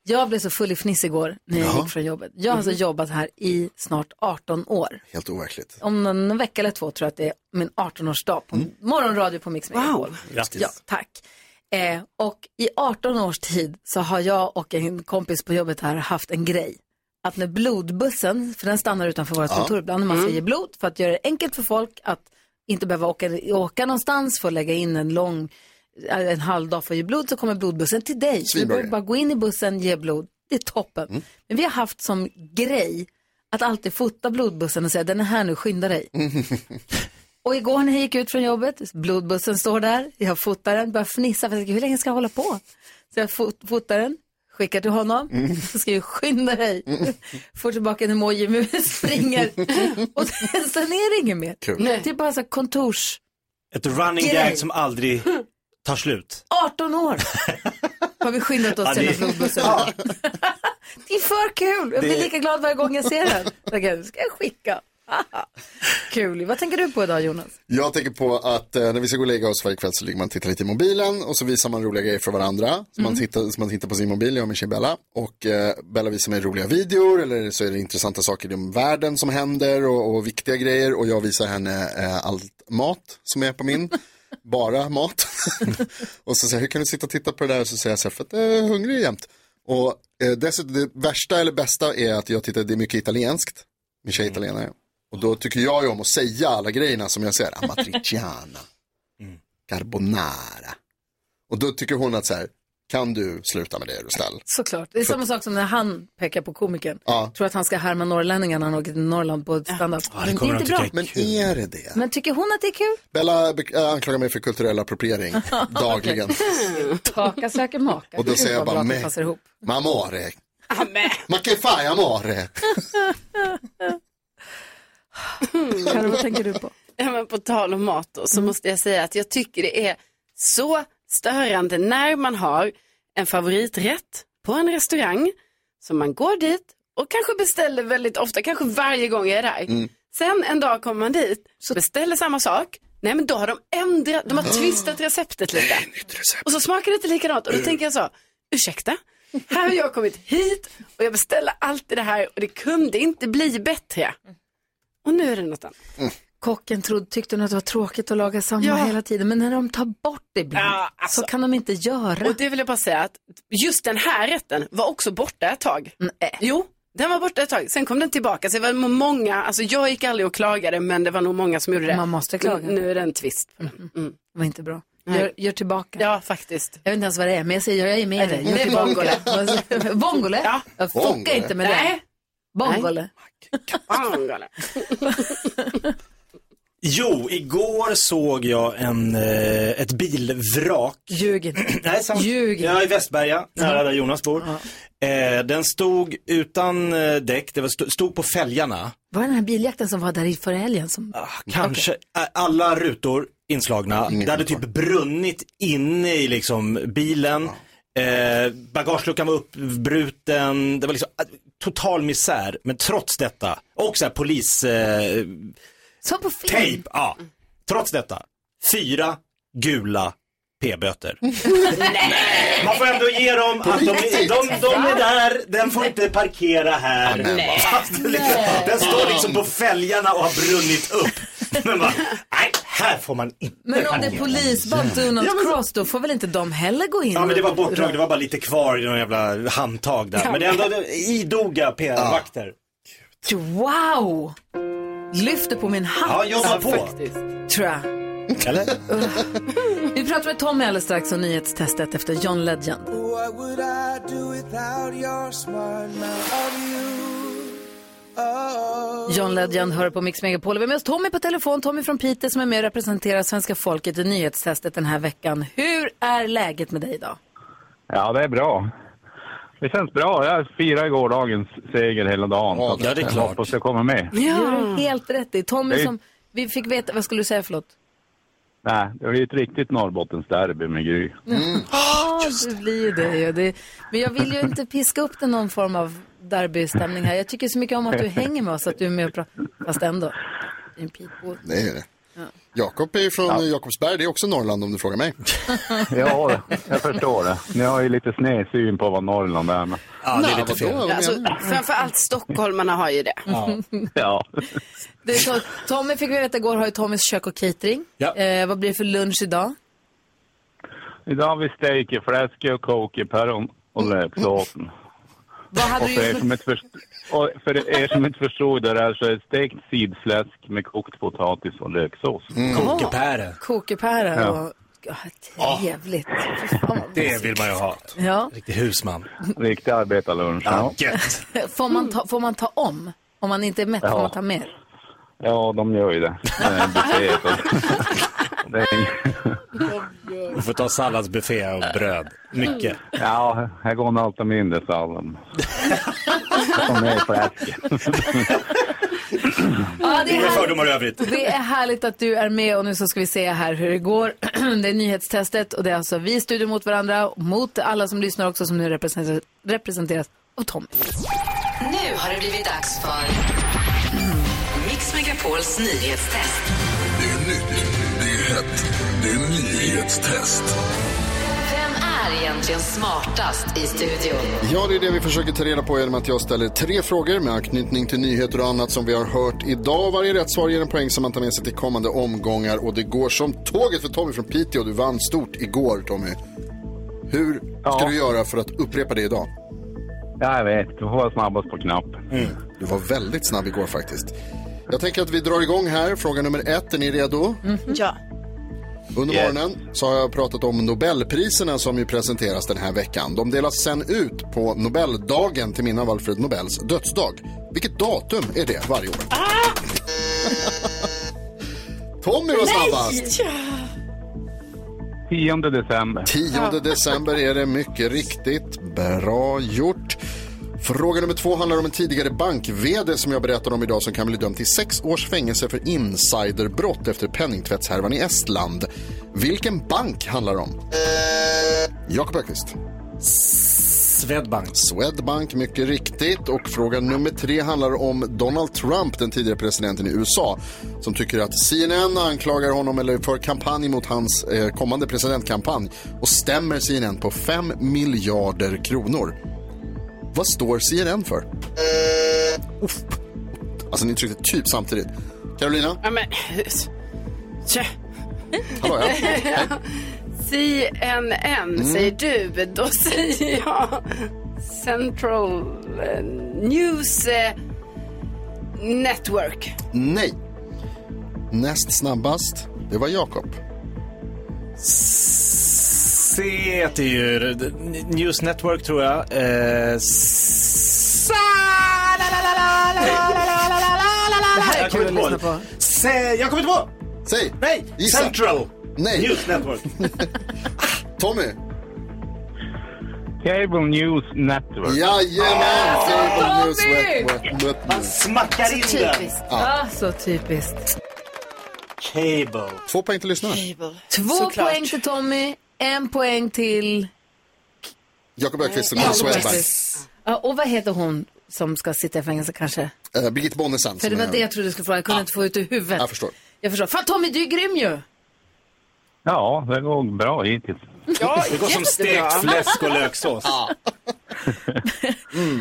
[SPEAKER 1] Jag blev så full i fniss igår när jag
[SPEAKER 3] Jaha.
[SPEAKER 1] gick från jobbet. Jag har alltså
[SPEAKER 3] Mhm.
[SPEAKER 1] jobbat här i snart 18 år.
[SPEAKER 3] Helt overkligt.
[SPEAKER 1] Om någon, någon vecka eller två tror jag att det är min 18-årsdag på
[SPEAKER 9] Mm.
[SPEAKER 1] morgonradio på Mix Megapol.
[SPEAKER 3] Grattis.
[SPEAKER 1] Ja, tack. Eh, och i 18 års tid så har jag och en kompis på jobbet här haft en grej. Att när blodbussen, för den stannar utanför vårt
[SPEAKER 9] Ja.
[SPEAKER 1] kontor ibland när man
[SPEAKER 9] Mm.
[SPEAKER 1] säger blod, för att göra det enkelt för folk att inte behöva åka, åka någonstans, få lägga in en lång, Äh, en halv dag för att ge blod, så kommer blodbussen till dig. Så du
[SPEAKER 9] Svinbra Mm.
[SPEAKER 1] behöver bara gå in i bussen, ge blod. Det är toppen. Men vi har haft som grej att alltid fota blodbussen och säga den är här nu, skynda dig. Och igår när jag gick ut från jobbet, blodbussen står där, jag fotar den, börjar fnissa, för jag tänker, hur länge ska jag hålla på? Så jag fot- fotar den, skickar till honom,
[SPEAKER 9] Mm.
[SPEAKER 1] så ska jag skynda dig. Får tillbaka en emoji, men springer. Och sen, sen är det inget mer.
[SPEAKER 4] Kul.
[SPEAKER 1] Det är typ bara så här kontors,
[SPEAKER 4] Ett running
[SPEAKER 1] Grej.
[SPEAKER 4] gag som aldrig tar slut.
[SPEAKER 1] 18 år har vi skyndat oss
[SPEAKER 4] Ja,
[SPEAKER 1] till
[SPEAKER 4] det-
[SPEAKER 1] den här blodbussen. Det är för kul, jag blir
[SPEAKER 4] Det-
[SPEAKER 1] lika glad varje gång jag ser den. Jag tänker, Nu ska jag skicka. Haha. Kul, vad tänker du på idag Jonas?
[SPEAKER 3] Jag tänker på att eh, när vi ska gå och lägga oss varje kväll så ligger man och tittar lite i mobilen och så visar man roliga grejer för varandra. Så man,
[SPEAKER 1] Mm.
[SPEAKER 3] tittar, så man tittar på sin mobil, jag och min tjej Bella. Och eh, Bella visar mig roliga videor eller så är det intressanta saker om världen som händer och, och viktiga grejer. Och jag visar henne eh, allt mat som är på min. Bara mat. och så säger jag, hur kan du sitta och titta på det där? Så säger jag så här, för att jag är hungrig jämt. Och eh, dessutom, det värsta eller bästa är att jag tittar, det är mycket italienskt. Min tjej är
[SPEAKER 1] Mm.
[SPEAKER 3] italienare. Och då tycker jag ju om att säga alla grejerna som jag ser. Amatriciana,
[SPEAKER 1] Mm.
[SPEAKER 3] carbonara. Och då tycker hon att så här, kan du sluta med det är du snäll?
[SPEAKER 1] Såklart. Det är
[SPEAKER 3] För-
[SPEAKER 1] samma sak som när han pekar på komikern.
[SPEAKER 3] Ja.
[SPEAKER 1] Tror att han ska härma norrlänningar när han åker till Norrland på standup. Men det är inte bra.
[SPEAKER 3] Men är det det?
[SPEAKER 1] Men tycker hon att det är kul?
[SPEAKER 3] Bella be- äh, anklagar mig för kulturell appropriering dagligen.
[SPEAKER 1] Taka söker maka.
[SPEAKER 3] Och då
[SPEAKER 1] Det
[SPEAKER 3] säger jag
[SPEAKER 1] var bra
[SPEAKER 3] bara,
[SPEAKER 1] att det
[SPEAKER 3] "Me-
[SPEAKER 1] passar ihop. Ah,
[SPEAKER 3] Ma amore. Ma che fai amore?
[SPEAKER 1] Karin, vad tänker du på? Mm.
[SPEAKER 5] Ja, men på tal om mat då, så måste jag säga att jag tycker det är så störande när man har en favoriträtt på en restaurang som man går dit och kanske beställer väldigt ofta, kanske varje gång jag är där.
[SPEAKER 1] Mm.
[SPEAKER 3] Mm.
[SPEAKER 5] Sen en dag kommer man dit, beställer samma sak. Nej men då har de ändrat, de har twistat receptet lite. Och så smakar det inte likadant och då tänker jag så, ursäkta, här har jag kommit hit och jag beställer alltid det här och det kunde inte bli bättre. Och nu är det något annat.
[SPEAKER 1] kocken trodde, tyckte hon att det var tråkigt att laga samma hela tiden. Men när de tar bort det ibland så kan de inte göra.
[SPEAKER 5] alltså, Och det vill jag bara säga att just den här rätten var också borta ett tag.
[SPEAKER 1] Mm, eh.
[SPEAKER 5] Jo, den var borta ett tag. Sen kom den tillbaka. Så det var nog många, alltså jag gick aldrig och klagade men det var nog många som gjorde det.
[SPEAKER 1] Man måste klaga.
[SPEAKER 5] Nu, nu är det en tvist. på den. Mm.
[SPEAKER 1] Det var inte bra.
[SPEAKER 5] Nej.
[SPEAKER 1] Gör, gör tillbaka.
[SPEAKER 5] Ja, faktiskt.
[SPEAKER 1] Jag vet inte ens vad det är, men jag säger jag är med dig. Gör
[SPEAKER 5] Nej,
[SPEAKER 1] tillbaka.
[SPEAKER 5] vongole.
[SPEAKER 1] Vad säger du? Vongole? Ja. Jag fuckar
[SPEAKER 5] Vongole.
[SPEAKER 1] inte med det.
[SPEAKER 5] Nej.
[SPEAKER 1] Vongole.
[SPEAKER 5] Vongole.
[SPEAKER 4] Jo, igår såg jag en, eh, ett bilvrak.
[SPEAKER 1] Ljug
[SPEAKER 4] Nej, samt,
[SPEAKER 1] Ljug
[SPEAKER 4] Ja, i Västberga, nära där Jonas bor. Eh, den stod utan eh, däck, det var stod, stod på fälgarna.
[SPEAKER 1] Var det den här biljakten som var där i förra helgen? Som...
[SPEAKER 4] Ah, Kanske ä- alla rutor inslagna. det hade typ brunnit inne i liksom bilen. Eh, bagageluckan var uppbruten. Det var liksom eh, total misär. Men trots detta, och så här polis... Eh,
[SPEAKER 1] Som på film.
[SPEAKER 4] Tejp, ja. Trots detta, fyra gula p-böter. Man får ändå ge dem att de, de, de, de är där, den får inte parkera här.
[SPEAKER 12] Ja, men vad
[SPEAKER 4] Fast det liksom, den står liksom på fälgarna och har brunnit upp. Men bara, nej, här får man inte
[SPEAKER 1] Men om det är
[SPEAKER 4] parkera.
[SPEAKER 1] polisband och Donald Cross, då får väl inte de heller gå in?
[SPEAKER 4] Ja men det var
[SPEAKER 1] och-
[SPEAKER 4] bortdrag, det var bara lite kvar i några jävla handtag där. Men det är ändå det- idoga p-vakter.
[SPEAKER 1] Wow! Lyfter på min hatt.
[SPEAKER 4] Ja, jobba på.
[SPEAKER 1] Tror jag.
[SPEAKER 4] Eller?
[SPEAKER 1] Vi pratar med Tommy alldeles strax om nyhetstestet efter John Legend.
[SPEAKER 12] What would I do without your smart mouth of you? Oh.
[SPEAKER 1] John Legend hör på Mix Megapol. Vi har med oss Tommy på telefon. Tommy från Piteå som är med och representerar svenska folket i nyhetstestet den här veckan. Hur är läget med dig idag?
[SPEAKER 18] Ja, det är bra. Det känns bra. Jag firade gårdagens seger hela dagen. Ja,
[SPEAKER 4] det är
[SPEAKER 18] Jag
[SPEAKER 4] klart.
[SPEAKER 18] hoppas jag kommer med.
[SPEAKER 1] Ja. Det är helt rätt i. Tommy
[SPEAKER 18] Hej.
[SPEAKER 1] som vi fick veta, vad skulle du säga förlåt?
[SPEAKER 18] Nej, det blir ett riktigt Norrbottensderby med Gry.
[SPEAKER 1] Mm. Ja, det blir ju det, ju. det. Men jag vill ju inte piska upp det någon form av derbystämning här. Jag tycker så mycket om att du hänger med oss, att du är med och pratar. Fast ändå. Det är en pipor.
[SPEAKER 3] Det är det.
[SPEAKER 1] Ja.
[SPEAKER 3] Jakob är ju från Jakobsberg, det är också Norrland om du frågar mig.
[SPEAKER 18] Ja, jag förstår det. Ni har ju lite snedsyn på vad Norrland är. Men...
[SPEAKER 5] Alltså,
[SPEAKER 1] Mm.
[SPEAKER 5] framförallt stockholmarna har ju det.
[SPEAKER 18] Ja.
[SPEAKER 1] Du, Tom- Tommy fick vi veta igår har ju Tommys kök och catering.
[SPEAKER 18] Ja.
[SPEAKER 1] Eh, vad blir det för lunch idag?
[SPEAKER 18] Idag har vi steak i fläsk och kok i päron och löksåten.
[SPEAKER 1] Vad hade
[SPEAKER 18] Och
[SPEAKER 1] du
[SPEAKER 18] för, er
[SPEAKER 1] gjort
[SPEAKER 18] som
[SPEAKER 1] med...
[SPEAKER 18] inte först- och för er som inte förstod det där så är det stekt sidfläsk med kokt potatis och löksås.
[SPEAKER 4] Mm. Kokepäre.
[SPEAKER 1] Kokepära
[SPEAKER 18] Ja.
[SPEAKER 1] och... Ja, trevligt. Ah.
[SPEAKER 4] Det vill man ju ha.
[SPEAKER 1] Ja.
[SPEAKER 4] Riktig husman.
[SPEAKER 18] Riktig arbetarlunch. Ja.
[SPEAKER 1] Får, man ta, får man ta om? Om man inte är mätt får
[SPEAKER 18] Ja.
[SPEAKER 1] man ta mer?
[SPEAKER 18] Ja, de gör ju det. Det är en buffé, så. Det är ing-
[SPEAKER 4] Du får ta salladsbuffé och bröd. Mycket.
[SPEAKER 18] Ja, här går en allt mindre sallad. Som är i fläsket.
[SPEAKER 1] Ja, det är
[SPEAKER 4] Inga
[SPEAKER 1] härligt.
[SPEAKER 4] fördomar i övrigt.
[SPEAKER 1] Det är härligt att du är med och nu så ska vi se här hur det går. Det är nyhetstestet och det är alltså vi i studion mot varandra, och mot alla som lyssnar också som nu representeras, representeras av Tommy.
[SPEAKER 2] Nu har det blivit dags för Mix Megapols nyhetstest.
[SPEAKER 12] Nyhetstest.
[SPEAKER 2] Vem är egentligen smartast i studion?
[SPEAKER 3] Ja, det är det vi försöker ta reda på genom att jag ställer tre frågor med anknytning till nyheter och annat som vi har hört idag. Varje rätt svar ger en poäng som man tar med sig till kommande omgångar och det går som tåget för Tommy från Piteå. Du vann stort igår, Tommy. Hur ska du göra för att upprepa det idag?
[SPEAKER 18] Ja, jag vet. Du får vara snabbast på knappen.
[SPEAKER 3] Du var väldigt snabb igår faktiskt. Jag tänker att vi drar igång här. Fråga nummer ett, är ni redo?
[SPEAKER 5] Ja.
[SPEAKER 3] Under
[SPEAKER 18] Yes.
[SPEAKER 3] morgonen så har jag pratat om Nobelpriserna som ju presenteras den här veckan. De delas sen ut på Nobeldagen till minne av Alfred Nobels dödsdag. Vilket datum är det varje år? Tommy var snabbast!
[SPEAKER 18] 10 december.
[SPEAKER 3] 10 december är det mycket riktigt. Bra gjort. Fråga nummer två handlar om en tidigare bank-vd som jag berättade om idag som kan bli dömd till sex års fängelse för insiderbrott efter penningtvättshärvan i Estland. Vilken bank handlar det om? Jakob Öqvist.
[SPEAKER 4] Swedbank.
[SPEAKER 3] Swedbank, mycket riktigt. Och fråga nummer tre handlar om Donald Trump, den tidigare presidenten i USA, som tycker att CNN anklagar honom eller för kampanj mot hans eh, kommande presidentkampanj och stämmer CNN på 5 miljarder kronor. Vad
[SPEAKER 5] Eh.
[SPEAKER 3] står CNN för? Uff. Alltså, ni tryckte typ samtidigt. Carolina?
[SPEAKER 5] Ja, men... Tja.
[SPEAKER 3] Hallå, ja.
[SPEAKER 5] CNN säger du, då säger jag Central eh, News eh, Network.
[SPEAKER 3] Nej. Näst snabbast, det var Jakob.
[SPEAKER 4] C det är ju News Network tror jag. Eh, s-
[SPEAKER 12] Det här är
[SPEAKER 4] Jag kommer
[SPEAKER 12] kul
[SPEAKER 4] inte
[SPEAKER 12] att
[SPEAKER 4] på.
[SPEAKER 12] lyssna på.
[SPEAKER 4] Säg, jag kommer inte på!
[SPEAKER 3] Säg!
[SPEAKER 4] Nej!
[SPEAKER 12] Gissa.
[SPEAKER 4] Central!
[SPEAKER 3] Nej.
[SPEAKER 4] News Network.
[SPEAKER 3] Tommy?
[SPEAKER 18] Cable News Network.
[SPEAKER 3] Jajamän! Cable News
[SPEAKER 1] Tommy!
[SPEAKER 3] Network. Network.
[SPEAKER 4] smackar
[SPEAKER 1] Så typiskt.
[SPEAKER 3] Ja.
[SPEAKER 1] Ah, så typiskt.
[SPEAKER 4] Cable.
[SPEAKER 3] Två poäng till lyssnaren.
[SPEAKER 1] Två poäng till Tommy, en poäng till...
[SPEAKER 3] Jakob Öqvist
[SPEAKER 1] Ja,
[SPEAKER 3] från Swedbank.
[SPEAKER 1] precis. Ja, och vad heter hon som ska sitta i fängelse kanske?
[SPEAKER 3] Eh, Birgit Bonnesen.
[SPEAKER 1] För det
[SPEAKER 3] som
[SPEAKER 1] var
[SPEAKER 3] är-
[SPEAKER 1] det jag trodde du skulle fråga, jag kunde inte få ut ur huvudet.
[SPEAKER 3] Jag förstår.
[SPEAKER 1] Jag förstår. Fan Tommy, du är grym ju!
[SPEAKER 18] Ja, det går bra hittills.
[SPEAKER 1] Ja, Det går som jättebra. stekt fläsk och
[SPEAKER 4] löksås.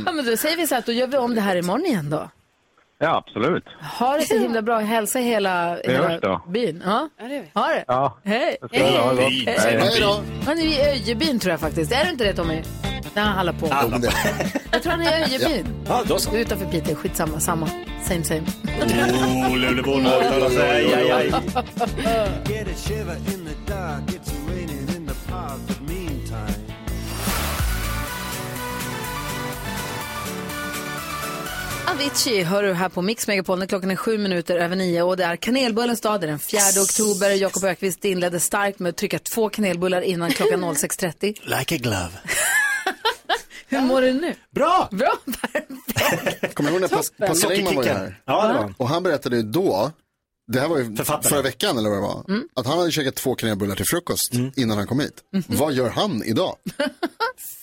[SPEAKER 1] Ja, men då säger vi så här att då gör vi om det här imorgon igen då.
[SPEAKER 18] Ja, absolut.
[SPEAKER 1] Ha det så himla bra, hälsa hela,
[SPEAKER 18] Vi hörs
[SPEAKER 1] hela
[SPEAKER 18] då.
[SPEAKER 1] byn. Ja, ha det.
[SPEAKER 18] Ja.
[SPEAKER 1] Hej!
[SPEAKER 18] Det ska jag ha.
[SPEAKER 1] Hej.
[SPEAKER 18] Hej då. Hej då.
[SPEAKER 1] Han är i Öjebyn tror jag faktiskt. Är det inte det Tommy? Nej, han håller på.
[SPEAKER 3] Alla.
[SPEAKER 1] Jag tror han är i Öjebyn.
[SPEAKER 4] Ja, då så.
[SPEAKER 1] Utanför Piteå, skitsamma, samma. Same same.
[SPEAKER 4] Oh, Luleåborna uttalar sig. Aj, aj, aj.
[SPEAKER 12] Get a shiver in the dark, it's raining in the park, but meantime.
[SPEAKER 1] Avicii hör du här på Mix Megapol när klockan är sju minuter över nio och det är kanelbullens dag. Det är den 4 oktober. Jakob Ökvist inledde starkt med att trycka två kanelbullar innan klockan 06.30.
[SPEAKER 4] Like a glove.
[SPEAKER 1] Hur mår du nu?
[SPEAKER 4] Bra!
[SPEAKER 1] Bra!
[SPEAKER 3] Kommer du ihåg när Pas-
[SPEAKER 1] Toppen.
[SPEAKER 3] Pascal Engman var ju
[SPEAKER 1] Sockerkicken.
[SPEAKER 3] här?
[SPEAKER 1] Ja, det var han.
[SPEAKER 3] Och han berättade ju då, det här var ju
[SPEAKER 4] Författaren.
[SPEAKER 3] förra veckan eller vad det var, att han hade käkat två kanelbullar till frukost
[SPEAKER 4] Mm.
[SPEAKER 3] innan han kom hit. Vad gör han idag?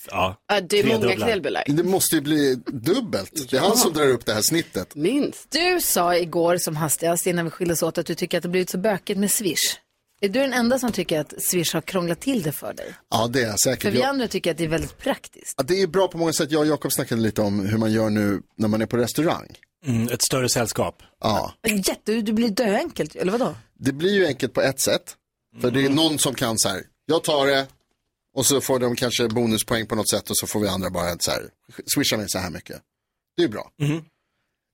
[SPEAKER 4] Ja,
[SPEAKER 5] Ja, det är många knällbullar.
[SPEAKER 3] Det måste ju bli dubbelt. Det är han som drar upp det här snittet.
[SPEAKER 5] Minst.
[SPEAKER 1] Du sa igår som hastigast innan vi skildes åt att du tycker att det blivit så bökigt med Swish. Är du den enda som tycker att Swish har krånglat till det för dig?
[SPEAKER 3] Ja, det är jag
[SPEAKER 1] För
[SPEAKER 3] säkert.
[SPEAKER 1] vi
[SPEAKER 3] Jag,
[SPEAKER 1] andra tycker att det är väldigt praktiskt.
[SPEAKER 3] Ja, det är bra på många sätt. Jag och Jakob snackade lite om hur man gör nu när man är på restaurang.
[SPEAKER 4] Mm, ett större sällskap.
[SPEAKER 3] Ja.
[SPEAKER 1] Jätte, du blir döenkelt, eller vadå? Mm.
[SPEAKER 3] Det blir ju enkelt på ett sätt. För det är någon som kan så här, jag tar det och så får de kanske bonuspoäng på något sätt och så får vi andra bara så här, swisha mig så här mycket. Det är bra.
[SPEAKER 4] Mm-hmm.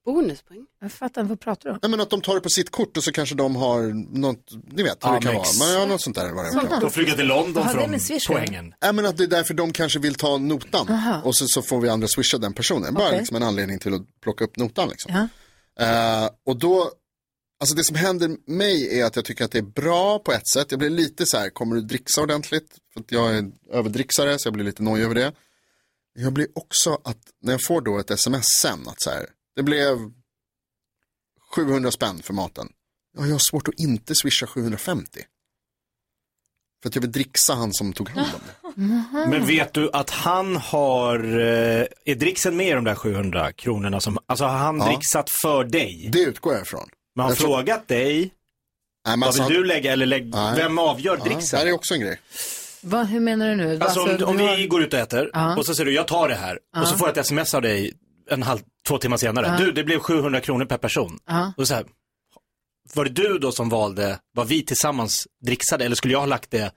[SPEAKER 5] Bonuspoäng?
[SPEAKER 1] Jag fattar inte, vad pratar du om?
[SPEAKER 3] Nej men att de tar det på sitt kort och så kanske de har något, ni vet hur
[SPEAKER 4] Ja,
[SPEAKER 3] det kan vara.
[SPEAKER 4] mix.
[SPEAKER 3] Man har något sånt där. vad det kan vara.
[SPEAKER 4] De flyger till London
[SPEAKER 1] Vad har det
[SPEAKER 4] från
[SPEAKER 1] med Swish att göra?
[SPEAKER 4] poängen.
[SPEAKER 3] Nej men att det är därför de kanske vill ta notan
[SPEAKER 1] Aha.
[SPEAKER 3] och så, så får vi andra swisha den personen. Bara
[SPEAKER 1] Okej.
[SPEAKER 3] liksom en anledning till att plocka upp notan liksom.
[SPEAKER 1] Ja.
[SPEAKER 3] Eh, och då, alltså det som händer mig är att jag tycker att det är bra på ett sätt. Jag blir lite så här, kommer du dricksa ordentligt? För att jag är överdricksare så jag blir lite nojig över det. Jag blir också att, när jag får då ett sms sen att så här, det blev 700 spänn för maten. Ja, jag har svårt att inte swisha 750. För att jag vill dricksa han som tog hand om det.
[SPEAKER 4] Mm-hmm. Men vet du att han har, eh, är dricksen med i de där 700 kronorna som, alltså har han
[SPEAKER 3] Ja.
[SPEAKER 4] dricksat för dig?
[SPEAKER 3] Det utgår jag ifrån.
[SPEAKER 4] Men har han
[SPEAKER 3] Jag tror-
[SPEAKER 4] frågat dig?
[SPEAKER 3] Nej, men
[SPEAKER 4] vad
[SPEAKER 3] alltså
[SPEAKER 4] vill du
[SPEAKER 3] han-
[SPEAKER 4] lägga eller lägg,
[SPEAKER 3] Nej.
[SPEAKER 4] vem avgör
[SPEAKER 3] Ja,
[SPEAKER 4] dricksen?
[SPEAKER 3] Det här är också en grej.
[SPEAKER 1] Va, hur menar du nu?
[SPEAKER 4] Alltså om, om
[SPEAKER 1] du har-
[SPEAKER 4] vi går ut och äter
[SPEAKER 1] Ja.
[SPEAKER 4] och så säger du jag tar det här
[SPEAKER 1] Ja.
[SPEAKER 4] och så får jag ett sms av dig en halv, två timmar senare.
[SPEAKER 1] Ja.
[SPEAKER 4] Du, det blev 700 kronor per person.
[SPEAKER 1] Ja.
[SPEAKER 4] Och så här, var det du då som valde vad vi tillsammans dricksade eller skulle jag ha lagt det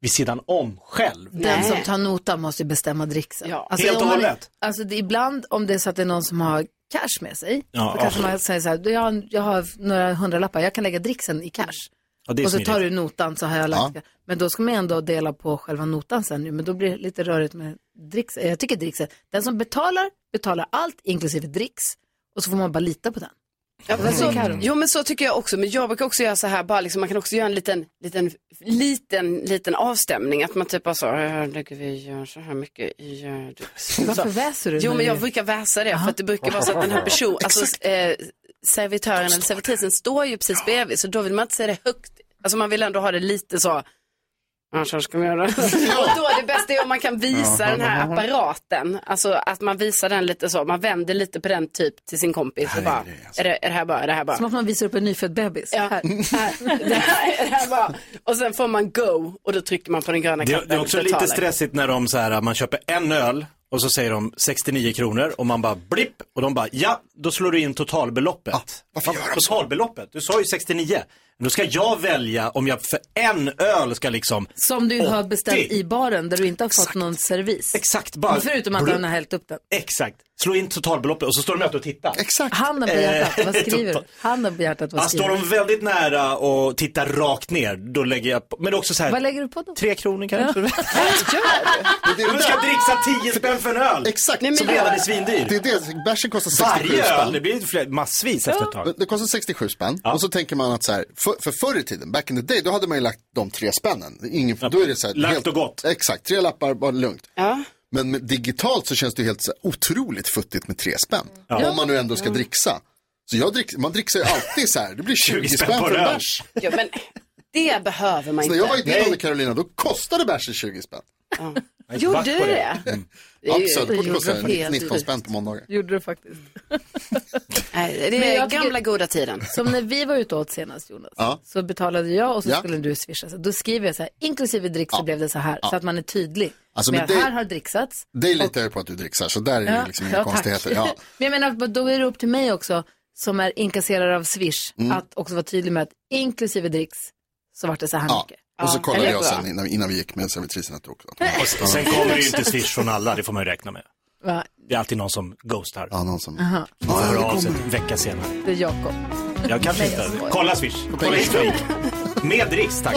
[SPEAKER 4] vid sidan om själv?
[SPEAKER 1] Den som tar notan måste ju bestämma dricksen.
[SPEAKER 4] Helt och
[SPEAKER 1] om man-
[SPEAKER 4] hållet.
[SPEAKER 1] Alltså det, ibland om det är så att det är någon som har cash med sig,
[SPEAKER 4] Ja,
[SPEAKER 1] så kanske
[SPEAKER 4] ja.
[SPEAKER 1] man säger så här, du, jag, har, jag har några hundralappar, jag kan lägga dricksen i cash.
[SPEAKER 4] Ja, det är
[SPEAKER 1] och så
[SPEAKER 4] smidigt.
[SPEAKER 1] tar du notan så har jag lagt
[SPEAKER 4] Ja.
[SPEAKER 1] Men då ska man ändå dela på själva notan sen ju, men då blir det lite rörigt med dricksen. Jag tycker dricksen, den som betalar, betalar allt inklusive dricks och så får man bara lita på den.
[SPEAKER 5] Ja, men så,
[SPEAKER 1] Mm.
[SPEAKER 5] jo men så tycker jag också, men jag brukar också göra så här, bara liksom, man kan också göra en liten, liten, liten, liten avstämning, att man typ bara så, herregud vi gör så här mycket i eh, det."
[SPEAKER 1] Varför väser du
[SPEAKER 5] Jo
[SPEAKER 1] nu?
[SPEAKER 5] men jag brukar väsa det, för att det brukar vara så att den här personen, alltså eh, servitören eller servitrisen står ju precis bredvid, så då vill man inte säga det högt, alltså man vill ändå ha det lite så, annars ska man göra det. och då är det bästa är om man kan visa den här apparaten, alltså att man visar den lite så, man vänder lite på den typ till sin kompis och bara, är det, är det här bara, är det här bara.
[SPEAKER 1] Som att man visar upp en nyfödd bebis. Ja. Här.
[SPEAKER 5] Det här är det här bara. Och sen får man go och då trycker man på den gröna
[SPEAKER 4] Det,
[SPEAKER 5] knappen.
[SPEAKER 4] det är också
[SPEAKER 5] betalar.
[SPEAKER 4] lite stressigt när de så här, man köper en öl Och så säger de 69 kronor och man bara blipp och de bara ja, då slår du in totalbeloppet.
[SPEAKER 1] Ah,
[SPEAKER 4] varför gör de totalbeloppet? Du sa ju 69. Men då ska jag välja om jag för en öl ska liksom
[SPEAKER 9] Som du har
[SPEAKER 4] 80.
[SPEAKER 9] beställt i baren där du inte har fått någon servis.
[SPEAKER 4] Exakt. bara-
[SPEAKER 9] Förutom att
[SPEAKER 4] Blu-
[SPEAKER 9] han har hällt upp den.
[SPEAKER 4] Exakt, slå in totalbeloppet och så står de ute och tittar. Exakt.
[SPEAKER 9] Handen på hjärtat, vad skriver du?
[SPEAKER 4] Total-
[SPEAKER 9] Handen på hjärtat, vad
[SPEAKER 4] Ja, står
[SPEAKER 9] skriver
[SPEAKER 4] de
[SPEAKER 9] du?
[SPEAKER 4] väldigt nära och tittar rakt ner, då lägger jag på. Men det är också så här,
[SPEAKER 9] Vad lägger du på då?
[SPEAKER 4] Tre kronor kanske.
[SPEAKER 3] Det är
[SPEAKER 4] du ska dricksa 10 spänn för en öl.
[SPEAKER 3] Exakt.
[SPEAKER 4] Som redan är svindyr.
[SPEAKER 3] Det är det, bärsen kostar 67
[SPEAKER 4] Varje öl,
[SPEAKER 3] spänn.
[SPEAKER 4] det blir fler, massvis efter ett tag.
[SPEAKER 3] Det- Det kostar 67 spänn. Och så tänker man att så här, för, för förr i tiden, back in the day, då hade man ju lagt de tre spännen. Det är Ingen, då är det så här,
[SPEAKER 4] lagt
[SPEAKER 3] och gott. Exakt, tre lappar, bara lugnt. Men med, digitalt så känns det ju helt så här, otroligt futtigt med tre spänn.
[SPEAKER 9] Ja.
[SPEAKER 3] Om man nu ändå ska dricksa. Så jag drick, man dricksar ju alltid så här, det blir 20, spänn för en bärs.
[SPEAKER 5] Ja, men det behöver man
[SPEAKER 3] Så
[SPEAKER 5] inte.
[SPEAKER 3] när jag var i din ålder Carolina, då kostade bärsen 20 spänn.
[SPEAKER 5] Gjorde du det?
[SPEAKER 3] Mm.
[SPEAKER 5] Det är
[SPEAKER 3] Ja,
[SPEAKER 5] ju-
[SPEAKER 3] på Söderport
[SPEAKER 5] det
[SPEAKER 3] kostar
[SPEAKER 5] gjorde
[SPEAKER 3] det
[SPEAKER 5] helt
[SPEAKER 3] 19
[SPEAKER 5] sjukt.
[SPEAKER 3] spänn på måndagar.
[SPEAKER 1] Gjorde du faktiskt.
[SPEAKER 5] Nej,
[SPEAKER 1] Men
[SPEAKER 5] det är
[SPEAKER 1] jag tycker-
[SPEAKER 5] gamla goda tiden.
[SPEAKER 1] Som när vi var ute och åt senast Jonas.
[SPEAKER 3] Ja.
[SPEAKER 1] Så betalade jag och så
[SPEAKER 3] Ja.
[SPEAKER 1] skulle du swisha. Så Då skriver jag så här, inklusive dricks så blev det så här.
[SPEAKER 3] Ja.
[SPEAKER 1] Så att man är tydlig.
[SPEAKER 3] Alltså,
[SPEAKER 1] men
[SPEAKER 3] men det-
[SPEAKER 1] här har dricksats.
[SPEAKER 3] Det litar jag på att du dricksar, så där är det liksom inga
[SPEAKER 1] tack.
[SPEAKER 3] konstigheter. Ja.
[SPEAKER 1] Men jag menar, då är det upp till mig också, som är inkasserare av Swish,
[SPEAKER 3] Mm.
[SPEAKER 1] att också vara tydlig med att inklusive dricks så vart det så här
[SPEAKER 3] Ja.
[SPEAKER 1] mycket.
[SPEAKER 3] Och så
[SPEAKER 1] Ja.
[SPEAKER 3] kollade
[SPEAKER 1] Eller
[SPEAKER 3] jag
[SPEAKER 1] bra.
[SPEAKER 3] sen innan, innan vi gick med servitrisen att du också.
[SPEAKER 4] Och sen, sen kommer det ju inte swish från alla, det får man ju räkna med.
[SPEAKER 1] Va?
[SPEAKER 4] Det är alltid någon som ghostar.
[SPEAKER 3] Ja, någon som...
[SPEAKER 1] Aha.
[SPEAKER 4] Man får höra av sig en vecka senare.
[SPEAKER 1] Det är Jakob.
[SPEAKER 4] Jag kanske
[SPEAKER 1] Nej,
[SPEAKER 4] inte.
[SPEAKER 1] jag skojar.
[SPEAKER 4] Kolla swish. Kolla historik. Med dricks, tack.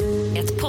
[SPEAKER 19] Ett